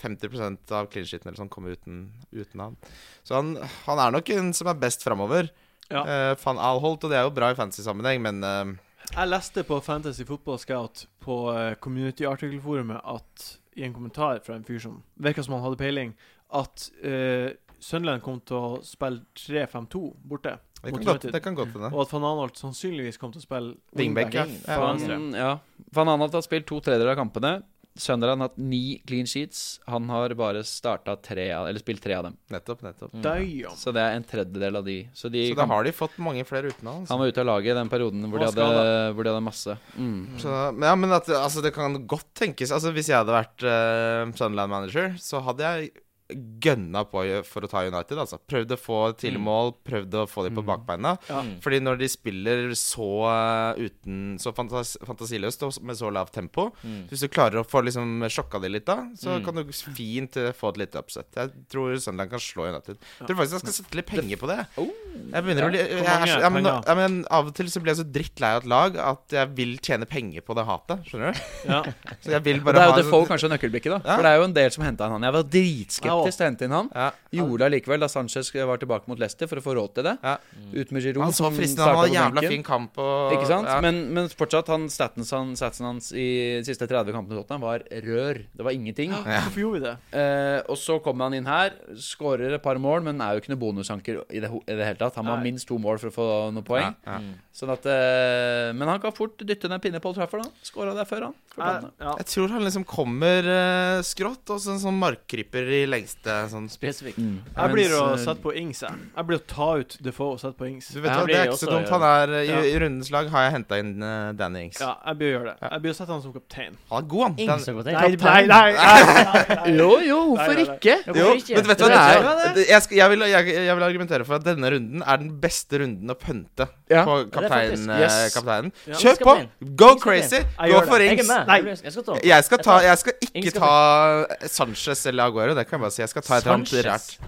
B: 50 av clean sheeten eller sånn kommer uten, uten han. Så han, han er nok en som er best framover.
A: Ja.
B: Eh, Van Alholt, og det er jo bra i fantasy-sammenheng, men eh,
A: Jeg leste på Fantasy Football Scout på eh, Community Article-forumet at i en kommentar fra en fyr som virka som han hadde peiling, at uh, Sunderland kom til å spille 3-5-2 borte,
B: det,
A: Mot
B: kan godt,
A: United.
B: det kan godt hende.
A: og at van Anholt sannsynligvis kom til å spille
B: Wingback, ja.
C: wing,
B: ja.
A: faen.
D: Han, ja. Van Anholt har spilt to tredjedeler av kampene. Sunderland har hatt ni clean sheets. Han har bare starta tre av, Eller spilt tre av dem.
B: Nettopp, nettopp.
A: Døyom.
D: Så det er en tredjedel av de. Så, de
B: Så da
D: kamp-
B: har de fått mange flere uten han. altså.
D: han var ute av laget i den perioden hvor de
A: Og
D: hadde, hvor de hadde masse. Mm.
B: Så, men ja, men at, altså, det kan godt tenkes Altså, Hvis jeg hadde vært eh, Sunderland-manager, så hadde jeg gønna på for å ta United. altså. Prøvd å få tidlig
C: Mm.
B: mål, prøvd å få dem på bakbeina.
A: Ja.
C: Mm.
B: Fordi når de spiller så eh, uten Så fantas fantasiløst og med så lavt tempo
C: Mm.
B: Hvis du klarer å få liksom sjokka de litt da, så
C: Mm.
B: kan du fint eh, få et lite upset. Jeg tror Sunderland kan slå United. Jeg tror faktisk jeg skal sette litt penger på det.
D: Oh.
B: Jeg begynner å bli jeg,
A: hvor
B: er
A: mange
B: så- ja, men,
A: penger?
B: ja, men Av og til så blir jeg så drittlei av et lag at jeg vil tjene penger på det hatet. Skjønner du?
A: Ja.
B: Så jeg vil
D: Og
B: bare
D: det er
B: ha en
D: jo Defoe
B: sånn-
D: kanskje er nøkkelblikket, da.
B: Ja.
D: For det er jo en del som henta inn han. Jeg var
A: Ja, og-
D: dritskeptisk til å hente inn han.
B: ja.
D: Gjorde det likevel da Sanchez var tilbake mot Leicester for å få råd til det. Mm.
B: Ja.
D: Ut med Giroud.
B: Han så
D: som
B: sånn fristende
D: startet
B: Han hadde
D: på
B: jævla
D: benken.
B: fin kamp og
D: Ikke sant?
B: Ja.
D: Men, men fortsatt, han statsen, han, statsen hans i de siste 30 kampene i Tottenham var rør. Det var ingenting.
A: Hvorfor gjorde vi det?
D: Eh, og så kommer han inn her, skårer et par mål, men er jo ikke noe bonusanker i det, ho- i det hele tatt. Han må ha
A: Nei.
D: minst to mål for å få noen poeng.
B: Ja.
C: Mm.
D: Sånn at, eh, men han kan fort dytte ned pinne på Old Trafford. da. Skåra der før, han.
A: Jeg,
D: Fortsatt.
A: ja.
B: Jeg tror han liksom kommer eh, skrått, og så en sånn markkryper i lengste sånn
C: Spesifikt.
D: Mm.
A: jeg blir å
D: Mens, eh,
A: sette på Ings, jeg. Jeg blir å ta ut Defoe og sette på Ings.
B: Du vet
C: Ja,
B: hva,
C: det
B: Det er
C: blir
B: ikke så
C: også,
B: dumt.
C: ja.
B: Han er eh, I,
A: Ja.
B: i rundens lag har jeg henta inn eh, Danny Ings.
A: Ja, jeg blir å gjøre det.
B: Ja.
A: Jeg blir å sette han som kaptein.
B: Han er god, han.
C: Ingen som
B: Den,
C: går til.
A: Nei, nei, nei, nei, nei, nei.
D: Jo, jo, hvorfor
A: Nei, nei, nei.
D: ikke?
C: Ja,
B: jo,
C: hvorfor ikke?
B: men vet du hva det
D: Det er
B: er?
A: bra,
B: Jeg, skal, jeg, vil, jeg, jeg vil argumentere for at denne runden er den beste runden å pønte
D: Ja.
B: på
C: Ja, det er
B: kaptein,
C: faktisk-
B: eh,
D: yes.
B: kapteinen.
A: Ja.
B: Kjør
C: Skal
B: på!
C: man
B: Go
C: Ings skal
B: crazy!
A: Jeg
B: Gå
A: gjør
B: for
A: det.
C: Jeg er
B: Ings.
C: med.
A: Nei.
C: Jeg blir- Jeg skal ta den.
B: Jeg skal, ta,
C: Jeg tar-
B: jeg skal
C: Ings
B: ikke
C: skal
B: ta Sanchez eller Aguero. Det kan jeg bare si. Jeg skal ta et eller annet rært.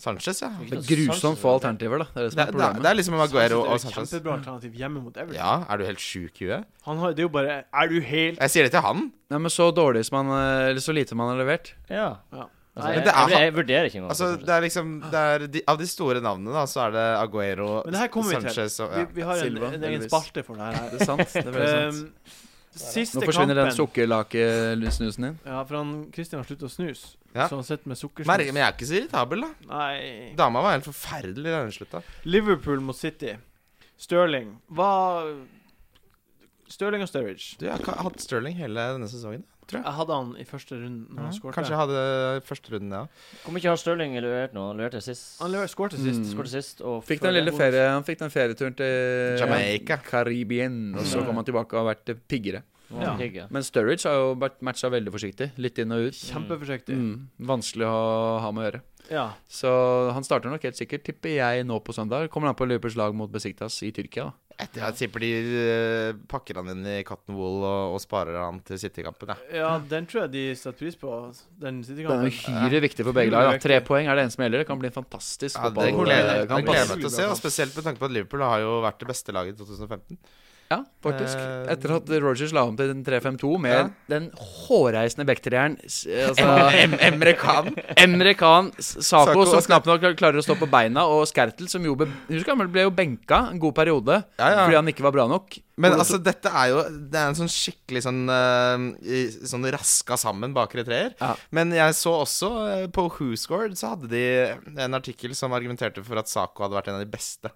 B: Sanchez, ja.
D: Det er grusomt få alternativer, da. Det er det
B: Det,
D: som er
B: er- det, er-
D: problemet.
B: det er liksom Aguero og
A: Jeg synes det er et
B: Sanchez.
A: Kjempebra alternativ hjemme mot Everton.
B: Ja, er du helt sjuk i huet?
A: Han har, det er jo bare Er du helt
B: Jeg sier det til han.
D: Nei, men så dårlig som han eh, Eller så lite man har levert.
C: Ja.
A: Ja.
C: Altså,
A: Nei,
C: jeg,
B: det er
C: jeg,
B: han-
C: jeg vurderer ikke engang.
B: Altså, det er liksom det er de, Av de store navnene, da, så er det Aguero,
A: Men det her kommer vi til.
B: Sanchez og
A: vi,
B: ja.
A: vi har en,
D: Silva,
A: en egen
D: Elvis.
A: spalte for det her.
D: Det er sant. Det er veldig sant.
A: Um, siste
D: Nå forsvinner den
A: kampen
D: sukkerlakesnusen din.
A: Ja, for han Kristian har sluttet å snuse,
B: Ja.
A: så han sitter med
B: Merke, men
A: sukkersnus.
B: jeg er ikke så irritabel, da.
A: Nei
B: Dama var helt forferdelig da hun slutta.
A: Liverpool mot City. Stirling var Stirling og Sturridge.
B: Du, jeg har ikke hatt Sterling hele denne sesongen.
A: Jeg hadde han i første runde når han skårte.
B: Mm, Kanskje jeg hadde første runden, ja.
C: Hvor mye har Stirling levert nå? Han leverte sist.
A: Han lever- skårte sist.
D: Mm.
C: Skåret sist og
D: Fikk
C: før
D: den lille
C: det-
D: ferie, han fikk den ferieturen til
B: Jamaica.
D: Karibien, og så
C: Mm.
D: kom han tilbake og har vært eh, piggere.
C: Nå var han pigg, ja.
D: Men Sturridge har jo vært matcha veldig forsiktig. Litt inn og ut.
A: Kjempeforsiktig.
D: Mm, vanskelig å ha med å gjøre.
A: Ja.
D: Så han starter nok helt sikkert, tipper jeg, nå på søndag. Kommer han på Liverpools lag mot Besiktas i Tyrkia, da.
B: Jeg, jeg tipper de eh, pakker han inn i cotton wool og, og sparer han til City-kampen. Ja.
A: ja, den tror jeg de setter pris på. Den
D: Den er
A: City-kampen.
D: uhyre viktig for begge lag. da. Tre poeng er det eneste som gjelder. Det kan bli en fantastisk
B: Ja, det gleder det
D: fotballkamp.
B: gleder jeg
D: ass.
B: meg til å se, og spesielt med tanke på at Liverpool har jo vært det beste laget i 2015.
D: Ja, faktisk.
B: Eh,
D: Etter at Rogers la om til en 3-5-2 med
B: Ja.
D: den hårreisende backtrieren s- altså, Emre Khan. Emre Khan, S- Sako,
B: Sako,
D: som
B: og-
D: knapt nok klarer å stå på beina, og Skertel, som jo be, Husk han ble jo benka en god periode
B: Ja, ja.
D: fordi han ikke var bra nok.
B: Men
D: Og-
B: altså, dette er jo Det er en sånn skikkelig sånn eh, i- Sånn raska sammen bakre treer.
D: Ja.
B: Men jeg så også eh, på Whoscored så hadde de en artikkel som argumenterte for at Sako hadde vært en av de beste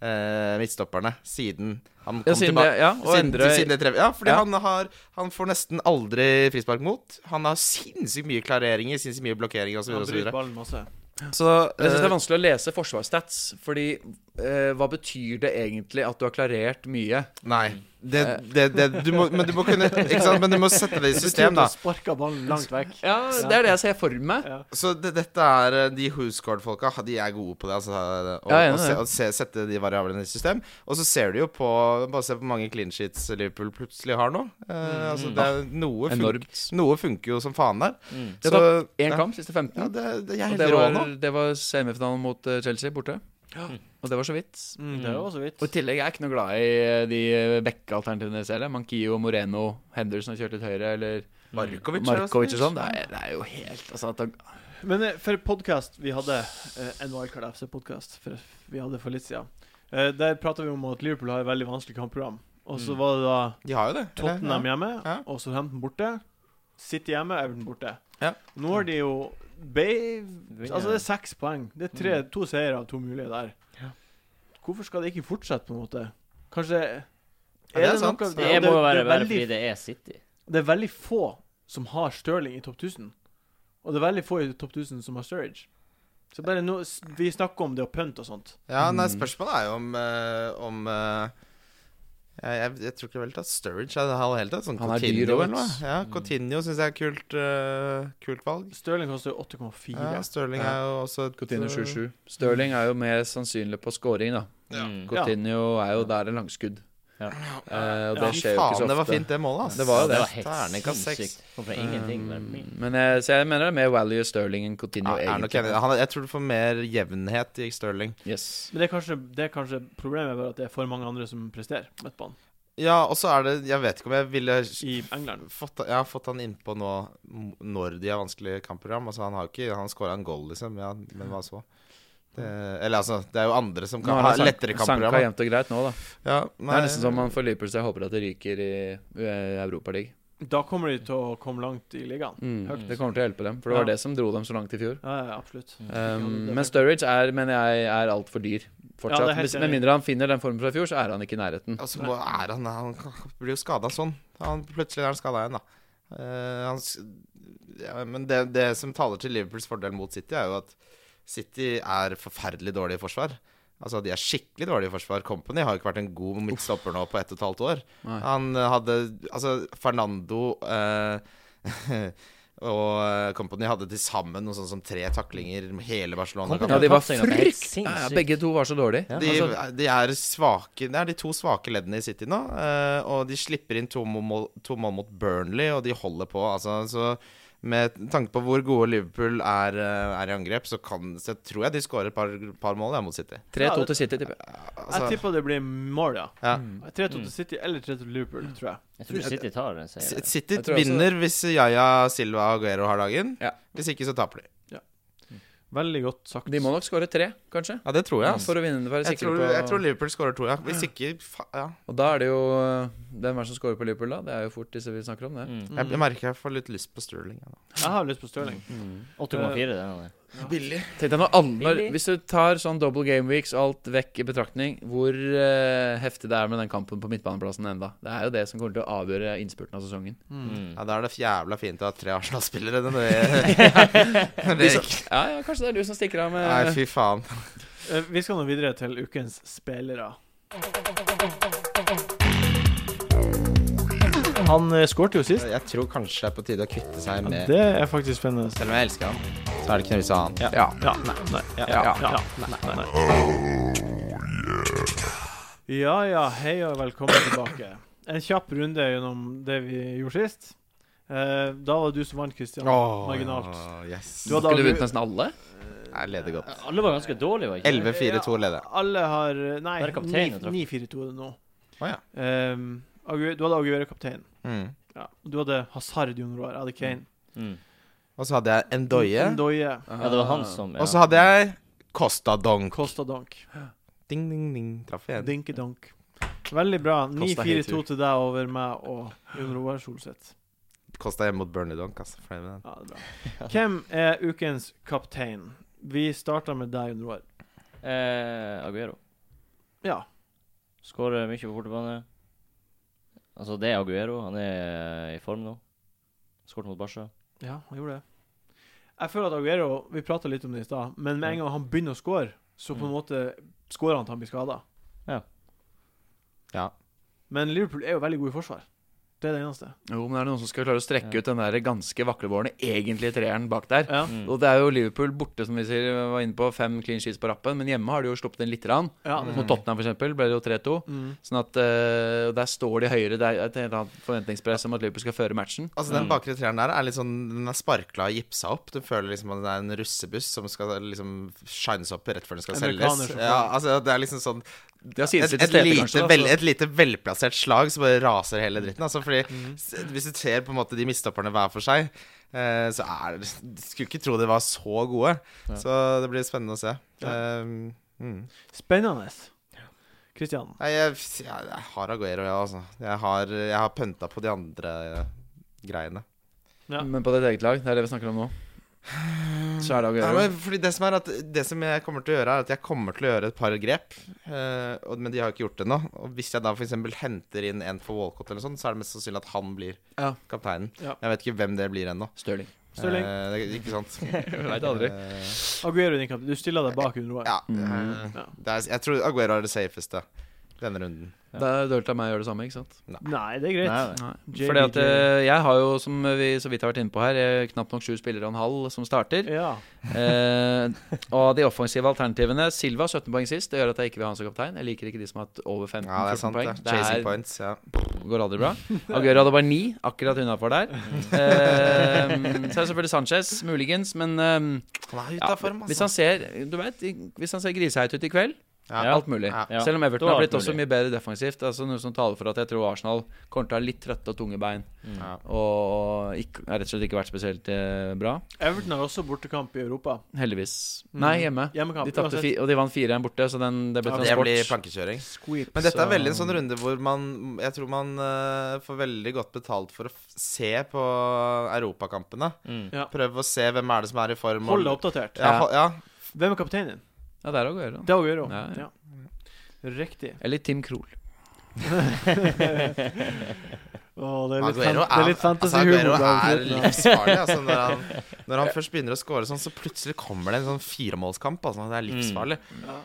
B: eh, midtstopperne siden han kom
D: ja, siden,
B: tilbake.
D: det- ja, og
B: siden,
D: Endre
B: siden det treffer. Ja, fordi
D: Ja.
B: Han, har, han får nesten aldri frispark mot. Han har sinnssykt mye klareringer, sinnssykt mye blokkeringer osv.
A: Han
B: Så,
A: bryter
B: videre.
A: ballen masse.
B: så
D: Jeg synes det er
B: eh,
D: vanskelig å lese forsvarsstats, fordi eh, hva betyr det egentlig at du har klarert mye?
B: Nei. Det, det, det, du må, men, du må kunne, ikke sant? men du må sette det i system, da.
A: Sparka ballen langt vekk.
D: Ja, det er det jeg ser for meg.
A: Ja.
B: Så det, dette er eh, De Whoscored-folka de er gode på det. Altså, eh, å,
D: Ja,
B: å,
D: jeg er enig i
B: se,
D: det.
B: å se, sette de variablene i system. Og så ser du jo på Bare se på mange clean sheets Liverpool plutselig har nå. Eh, altså, det er, noe, fun,
D: Mm. Ah, Enormt. Mm.
B: noe funker jo som faen der.
D: De har tapt én kamp, siste 15.
B: Ja, det, det, jeg er
D: og
B: helt
D: det
B: rå
D: var,
B: nå.
D: det var semifinalen mot eh, Chelsea borte. Og det var så vidt.
A: Mm, det var så vidt.
D: Og I tillegg er jeg ikke noe glad i eh, de eh, backalternativene jeg ser. eller? Mankio, Moreno, Henderson har kjørt litt høyre, eller
B: Markovic,
D: Markovic og sånn. Det, er- det er jo helt altså, at det,
A: Men eh, for podkast vi hadde, eh, en Wildcard FC-podkast vi hadde for litt siden, eh, der prata vi om at Liverpool har et veldig vanskelig kampprogram. Og så
C: Mm.
A: var det da
B: De har jo det. eller?
A: Tottenham
B: ja.
A: hjemme,
B: Ja.
A: og Southampton borte. City hjemme, Everton borte.
B: Ja.
A: Nå har de jo Bay Altså, det er seks poeng. Det er tre,
B: Mm.
A: to seire av to mulige der.
C: Ja.
A: Hvorfor skal det ikke fortsette, på en måte? Kanskje Er
B: det er sant.
A: noe-
C: Det må jo være
A: er
C: bare
A: veldig
C: fordi det er City.
A: det er veldig få som har Stirling i topp 1000. Og det er veldig få i topp 1000 som har Sturridge. Så bare nå, s- Vi snakker om det å pønte og sånt.
B: ja, nei,
D: Mm.
B: spørsmålet er jo om, eh, om eh, jeg, jeg, jeg tror ikke vel at Sturridge er det hele tatt. Sånn
D: Han er dyr
B: Coutinho
D: også. Mm.
B: eller noe. Ja, Coutinho syns jeg er kult, eh, kult valg.
A: Stirling koster jo 8,4.
B: Ja, Stirling
D: Ja.
B: er jo også et øh,
D: Coutinho 7-7. Stirling er jo mer sannsynlig på scoring, da.
B: Ja.
C: Mm.
D: Coutinho er jo der en langskudd.
C: Ja.
D: Eh,
A: Ja,
D: og det
B: Fy
D: skjer jo ikke
B: faen,
D: så ofte.
B: det var fint, det målet. ass.
D: Det var jo
C: det
D: det.
C: var helt
B: Terningkast seks.
C: sinnssykt. Kom fra ingenting. bare bing.
D: Men jeg, så jeg mener det er mer value Sterling enn Coutinho,
B: Ja, jeg, er nok enig.
D: egentlig.
B: Han, er- jeg tror du får mer jevnhet i Sterling.
D: Yes.
A: Men det er, kanskje, det er kanskje problemet er bare at det er for mange andre som presterer på midtbanen
B: Ja, og så er det Jeg vet ikke om jeg ville
A: i England.
B: fått, jeg har fått han innpå nå m- når de har vanskelig kampprogram. Altså, han har ikke Han scora en goal, liksom. Ja, men hva så? Det, eller altså, det er jo andre som
D: Nå
B: kan
D: har
B: ha
D: han sank-
B: lettere
D: sanka
B: kampprogram.
D: jevnt og greit nå, da.
B: Ja,
D: Det
B: nei,
D: er nesten som man får Liverpool, så jeg håper at det ryker i Europaligaen.
A: Da kommer de til å komme langt i ligaen.
D: Mm.
A: Høyt.
D: Det kommer til å hjelpe dem, for det
A: Ja.
D: var det som dro dem så langt i fjor.
A: Ja, ja, absolutt.
D: Um, men Sturridge er, mener jeg, er altfor dyr
A: Ja,
D: fortsatt.
A: det er helt
D: Hvis-
A: enig.
D: med mindre han finner den formen fra i fjor, så er han ikke i nærheten.
B: Altså, hva er han Han kan- blir jo skada sånn. Han, plutselig er han skada igjen, da. Eh, han, s- ja, men det, det som taler til Liverpools fordel mot City, er jo at City er forferdelig dårlig i forsvar. Altså, De er skikkelig dårlige i forsvar. Company har jo ikke vært en god midtstopper nå på ett og et halvt år.
D: Nei.
B: Han eh, hadde Altså, Fernando eh, og eh, Company hadde til sammen noe sånt som tre taklinger med hele Barcelona.
C: Kompany
D: Ja, de var
C: Det er helt
D: frykt...
C: sinnssykt.
D: Ja, begge to var så dårlige.
B: De,
D: Altså,
B: de er svake Det er de to svake leddene i City nå. eh, og de slipper inn to mål, to mål mot Burnley, og de holder på. Altså, så med tanke på hvor gode Liverpool er, eh, er i angrep, så, kan, så tror jeg de skårer et par, par mål ja, mot City.
D: 3-2 til City, tipper jeg.
A: Jeg
B: Altså, Mm.
A: tipper det blir mål, ja.
B: ja.
D: Mm,
A: 3-2 til City eller 3-2 til Liverpool, tror jeg.
C: Jeg tror City tar den
B: C-
C: seieren.
B: City
D: Jeg tror også-
B: vinner hvis Yaya, Silva og Aguero har dagen.
D: Ja.
B: Hvis ikke, så taper de.
A: Veldig godt sagt.
D: De må nok skåre tre, kanskje,
B: Ja, det tror jeg. Altså.
D: for å vinne. for å være
B: Jeg,
D: sikre
B: tror, jeg
D: på
B: tror Liverpool skårer to, ja. Hvis ikke fa ja.
D: Og da er det jo øh, Hvem er det som scorer på Liverpool, da? Det er jo fort disse vi snakker om, det.
C: Mm.
B: jeg, jeg merker jeg får litt lyst på Sterling. Ja, nå.
A: Jeg har lyst på Stirling.
D: Mm.
C: 8,4 den er det.
B: Billig.
D: Tenk deg når alle når,
C: Billig.
D: Hvis du tar sånn double game weeks, alt vekk i betraktning, hvor øh, heftig det er med den kampen på midtbaneplassen enda. Det er jo det som kommer til å avgjøre innspurten av sesongen.
C: Mm.
B: Ja, Da er det jævla fint å ha tre Arsenal-spillere. Det, det, det,
D: Ja, ja, kanskje det er du som stikker av med
B: Nei, fy faen.
A: Eh, Vi skal nå videre til ukens spillere. Han eh, skårte jo sist.
B: Jeg tror kanskje det er på tide å kvitte seg
A: Ja,
B: med
A: det er faktisk spennende.
B: Selv om jeg elsker han, så er det ikke noe vits i å ha han.
D: Ja.
A: Ja, nei, nei, ja,
D: Ja.
A: ja, ja, nei, nei. Ja ja, hei og velkommen tilbake. En kjapp runde gjennom det vi gjorde sist. Eh, Da var det du som vant, Christian. Marginalt.
B: yes.
A: Du hadde
D: Skulle
A: aldri-
D: vunnet nesten alle?
B: Jeg leder godt.
C: Alle var ganske dårlige, var ikke det?
B: 11-4-2 leder jeg.
A: Alle har eh, Nei,
C: Bare kapteinen
A: ni-
C: traff.
A: 9-4-2 er det nå.
B: Å ja.
A: Ehm, Agu- du hadde Aguero kaptein.
B: Mm.
A: Ja. Og Du hadde Hazard junior, jeg hadde Kane.
C: Mm.
B: Og så hadde jeg Endoye.
A: Ndoye.
C: Ja, det var han som ja.
B: Og så hadde jeg Costa Donk.
A: Costa Donk.
B: Ding, ding, ding. Traff igjen.
A: Dinky Donk. Veldig bra.
D: Costa
A: 9-4-2 til deg over meg og Jon Roar Solseth.
B: Costa hjemme mot Burnley Donk, altså. Fornøyd med den.
A: Ja, det er bra. Hvem er ukens kaptein? Vi starter med deg, Jon Roar.
C: eh, Aguero.
A: Ja.
C: Skårer mye på bortebane. Altså, det er Aguero. Han er eh, i form nå. Skåret mot Barca.
A: Ja, han gjorde det. Jeg føler at Aguero Vi prata litt om det i stad, men med en gang han begynner å score, så på en måte scorer han til han blir skada.
B: Ja.
A: Men Liverpool er jo veldig gode i forsvar. Det er det eneste.
D: Jo, men er det noen som skal klare å strekke
C: Ja.
D: ut den der ganske vaklevårende egentlige treeren bak der?
A: Ja.
C: Mm.
D: Og det er jo Liverpool borte, som vi sier, var inne på fem clean sheets på rappen, men hjemme har de jo sluppet inn litt. Rann.
A: ja det er
D: Mot
A: sant.
D: Tottenham, for eksempel, ble det jo 3-2.
A: Mm.
D: Sånn at eh, Der står de høyere. Det er et helt annet forventningspress om at Liverpool skal føre matchen.
B: Altså Den bakre treeren der er litt sånn Den er sparkla og gipsa opp. Du føler liksom at det er en russebuss som skal liksom shines opp rett før den skal
A: Amerikaner
B: selges.
A: som får-
B: Ja, altså Det er liksom sånn
D: De har
B: et,
D: sidestilt
B: et,
D: stedet,
B: lite,
D: kanskje. altså. da,
B: vel,
D: så-
B: et lite velplassert slag som bare raser hele dritten. Altså Fordi
D: Mm.
B: s- Hvis du ser på en måte de mistopperne hver for seg, eh, så er det du Skulle ikke tro de var så gode. Så det blir spennende å se. Eh, mm.
A: Spennende. Kristian.
B: Nei, jeg, jeg, jeg har Aguero, ja, altså. Jeg har, jeg har pønta på de andre eh, greiene.
A: Ja.
D: Men på ditt eget lag, det er det vi snakker om nå. Så er
B: Nei,
D: det Aguero.
B: men fordi det som er at Det som jeg kommer til å gjøre, er at jeg kommer til å gjøre et par grep. eh, og- men de har ikke gjort det ennå. Og hvis jeg da f.eks. henter inn en for Walcott, eller sånn, så er det mest sannsynlig at han blir
D: Ja.
B: kapteinen.
A: Ja.
B: Jeg vet ikke hvem det blir ennå.
D: Stirling.
A: Stirling.
B: Eh, det, ikke sant?
D: Veit aldri.
B: Eh,
A: Aguero din kaptein. Du stiller deg bak Jon Roar.
B: ja.
D: Mhm.
B: eh, det er, jeg tror Aguero er det safeste denne runden.
D: Det er dølt av meg å gjøre det samme, ikke sant?
A: Nei, det er greit.
C: Nei,
D: Nei.
A: JBJ.
D: Fordi at eh, jeg har jo, som vi så vidt har vært inne på her, eh, knapt nok sju spillere og en halv som starter.
A: Ja.
D: Eh, og de offensive alternativene Silva 17 poeng sist. Det gjør at jeg ikke vil ha han som kaptein. Jeg liker ikke de som har hatt over 15
B: Ja, det er
D: 14
B: sant,
D: poeng.
B: det.
D: Det
B: Chasing
D: er-
B: points. Ja.
D: går aldri bra. Aguero hadde bare ni, akkurat unnafor der. Eh, så er det selvfølgelig Sanchez, muligens, men eh,
B: Han er
D: ja,
B: ute av form,
D: hvis han
B: altså.
D: ser Du vet, hvis han ser griseheit ut i kveld,
C: Ja.
D: alt mulig.
B: Ja.
C: Ja.
D: Selv om Everton
C: Da er
D: har
C: alt
D: blitt også
C: mulig.
D: mye bedre defensivt. Altså Noe som taler for at jeg tror Arsenal kommer til å ha litt trøtte og tunge bein.
C: Mm.
B: Ja.
D: Og ikke, har rett og slett ikke vært spesielt eh, bra.
A: Everton har også bortekamp i Europa.
D: Heldigvis. Nei, hjemme.
A: Hjemmekamp.
D: De tapte
A: Mm. uansett.
D: fi, og de vant 4-1 borte, så den, det ble
A: Ja,
B: Det
D: transport.
B: blir plankekjøring.
A: Squeep.
B: Men dette
D: Så-
B: er veldig en sånn runde hvor man Jeg tror man eh, får veldig godt betalt for å f se på europakampene.
C: Mm.
A: Ja.
B: Prøve å se hvem er det som er i form. og-
A: Hold deg oppdatert.
B: Ja, hold, ja.
A: Hvem er kapteinen din?
D: Ja, det er Aguero.
A: Det er Aguero.
D: Ja,
A: Ja.
D: ja.
A: Riktig.
D: Eller Tim Krohl.
A: Åh, det er litt, fan det er litt fantasy-humor.
B: Aguero er, altså, Aguero er
A: blant guttene.
B: livsfarlig. Altså, når, han, når han først begynner å score sånn, så plutselig kommer det en sånn firemålskamp. Altså, det er livsfarlig.
A: Ja.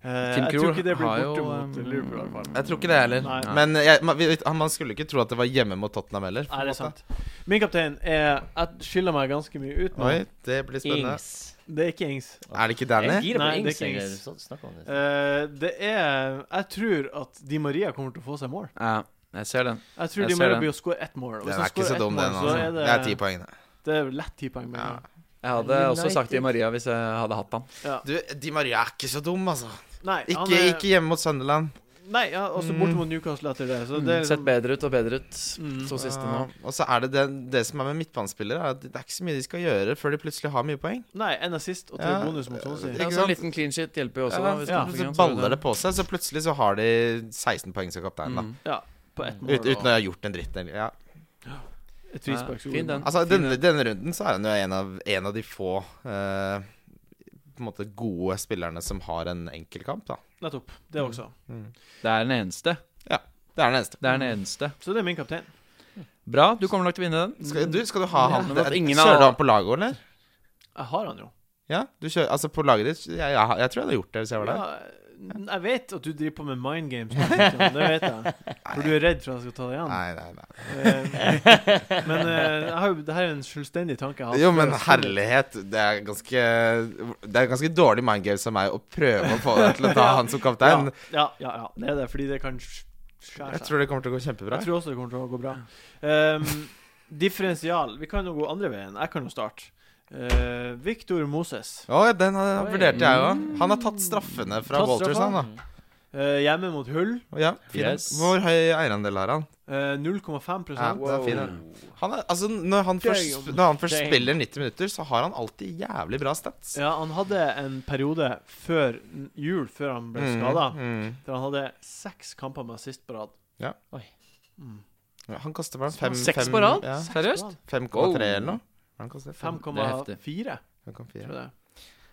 A: Eh,
D: Tim
A: jeg tror
D: Krul
A: ikke det blir
D: har jo,
A: borte mot
D: um,
A: Liverpool, i hvert fall.
B: Jeg tror ikke det heller.
A: Nei.
B: Men jeg, man, vi- han- man skulle ikke tro at det var hjemme mot Tottenham heller. på
A: Nei, det
B: en
A: er sant. Min kaptein er Jeg skiller meg ganske mye ut
B: måte.
A: nå.
B: Oi, det blir spennende.
C: Ings.
A: Det er ikke Ings.
B: Er det ikke
C: Jeg
B: Danny?
C: girer på
A: Nei,
C: Ings.
A: det er ikke
C: jeg.
A: Ings.
C: Så- snakk om det.
A: Eh, det er Jeg tror at Di Maria kommer til å få seg mål.
D: Ja, jeg ser den.
A: Jeg tror
D: Jeg
A: Di
D: ser
A: Maria
D: den.
A: blir å score ett mål. og hvis han
B: Den er ikke
A: scorer
B: så
A: ett
B: dum,
A: mål,
B: den.
A: så
B: Altså.
A: er
B: Det er ti poeng. det.
A: Det er lett ti poeng. med en
B: Ja.
A: gang.
D: Jeg hadde også sagt til Maria hvis jeg hadde hatt han.
B: Du, Di Maria er ikke så dum, altså.
A: Nei,
B: Ikke,
A: han er-
B: ikke hjemme mot Sunderland.
A: Nei, ja, også
B: Mm.
A: bort mot Newcastle etter det. Så
D: Mm,
A: det er
D: Sett
A: liksom,
D: bedre ut og bedre ut.
A: Mm.
D: Så siste nå.
B: Ja, Og så er det det, det som er med midtbanespillere, er at det er ikke så mye de skal gjøre før de plutselig har mye poeng.
A: nei, en assist og tre
B: Ja,
A: bonus mot Swansea.
B: det-
D: Ja,
B: Ikke
D: så en
B: sant?
D: liten clean shit hjelper jo også. da, hvis
A: ja.
D: man får
B: så
D: en sånn
B: baller det på seg, så plutselig så har de 16 poeng som kaptein, da.
D: Mm.
A: På ett mål.
B: Ut, uten
A: og
B: å ha gjort en dritt. eller- Ja.
A: et frispark, så
D: Nei, fin
A: god.
D: den.
B: Altså,
D: Fin
B: denne, denne runden så er han jo en av, en av de få eh, på en måte gode spillerne som har en enkel kamp, da.
A: Nettopp. Det
B: Mm.
A: også.
D: Det er den eneste.
B: Det er den eneste.
D: Det er den eneste.
A: Så det er min kaptein.
D: Bra, du kommer nok til å vinne den.
B: Skal du, skal du ha han
D: Ja, men
B: det-
D: at ingen
B: Kjører
D: av-
B: du han på laget, eller?
A: Jeg har han jo.
B: Ja, du kjører, altså på laget ditt jeg, jeg, jeg tror jeg hadde gjort det hvis jeg var der.
A: Ja, jeg vet at du driver på med mind games. Christian, Det vet jeg. For du er redd for at jeg skal ta deg igjen.
B: Nei, nei, nei.
A: Eh, Men eh, jeg har jo, det her er en selvstendig tanke jeg har.
B: Jo, men herlighet. Det er ganske Det er ganske dårlig mindgame av meg å prøve å få deg til å ta han som kaptein.
A: Ja, ja, ja. Det er det, fordi det kan sk- skjære
B: Jeg
A: seg.
B: tror det kommer til å gå kjempebra.
A: Jeg tror også det kommer til å gå bra. Ehm, differensial. Vi kan jo gå andre veien. Jeg kan jo starte. Eh, Victor Moses.
D: Mm.
B: Å, den hadde- vurderte jeg òg. Han har tatt straffene fra
A: Tatt
B: Walters,
A: straffa?
B: han da.
A: Eh, Eh, hjemme mot Hull
B: Ja, fin.
D: Yes.
B: Hvor høy eierandel har han?
A: eh, 0,5
B: Ja, det er fin, den. han er, altså, når han først,
A: Damn.
B: når han først
C: Damn.
B: spiller 90 minutter, så har han alltid jævlig bra stats.
A: Ja, han hadde en periode før n- jul, før han ble
B: Mm,
A: skada,
B: mm.
A: der han hadde seks kamper med assist på rad.
B: Ja.
C: Oi.
A: Mm.
B: Ja, Han koster vel fem
D: Seks
B: fem-
D: på rad?
B: Ja,
D: Seriøst?
B: 5,3
D: Wow.
B: eller noe. Han koster fem-
A: 5,4, tror
B: 5,4.
A: jeg.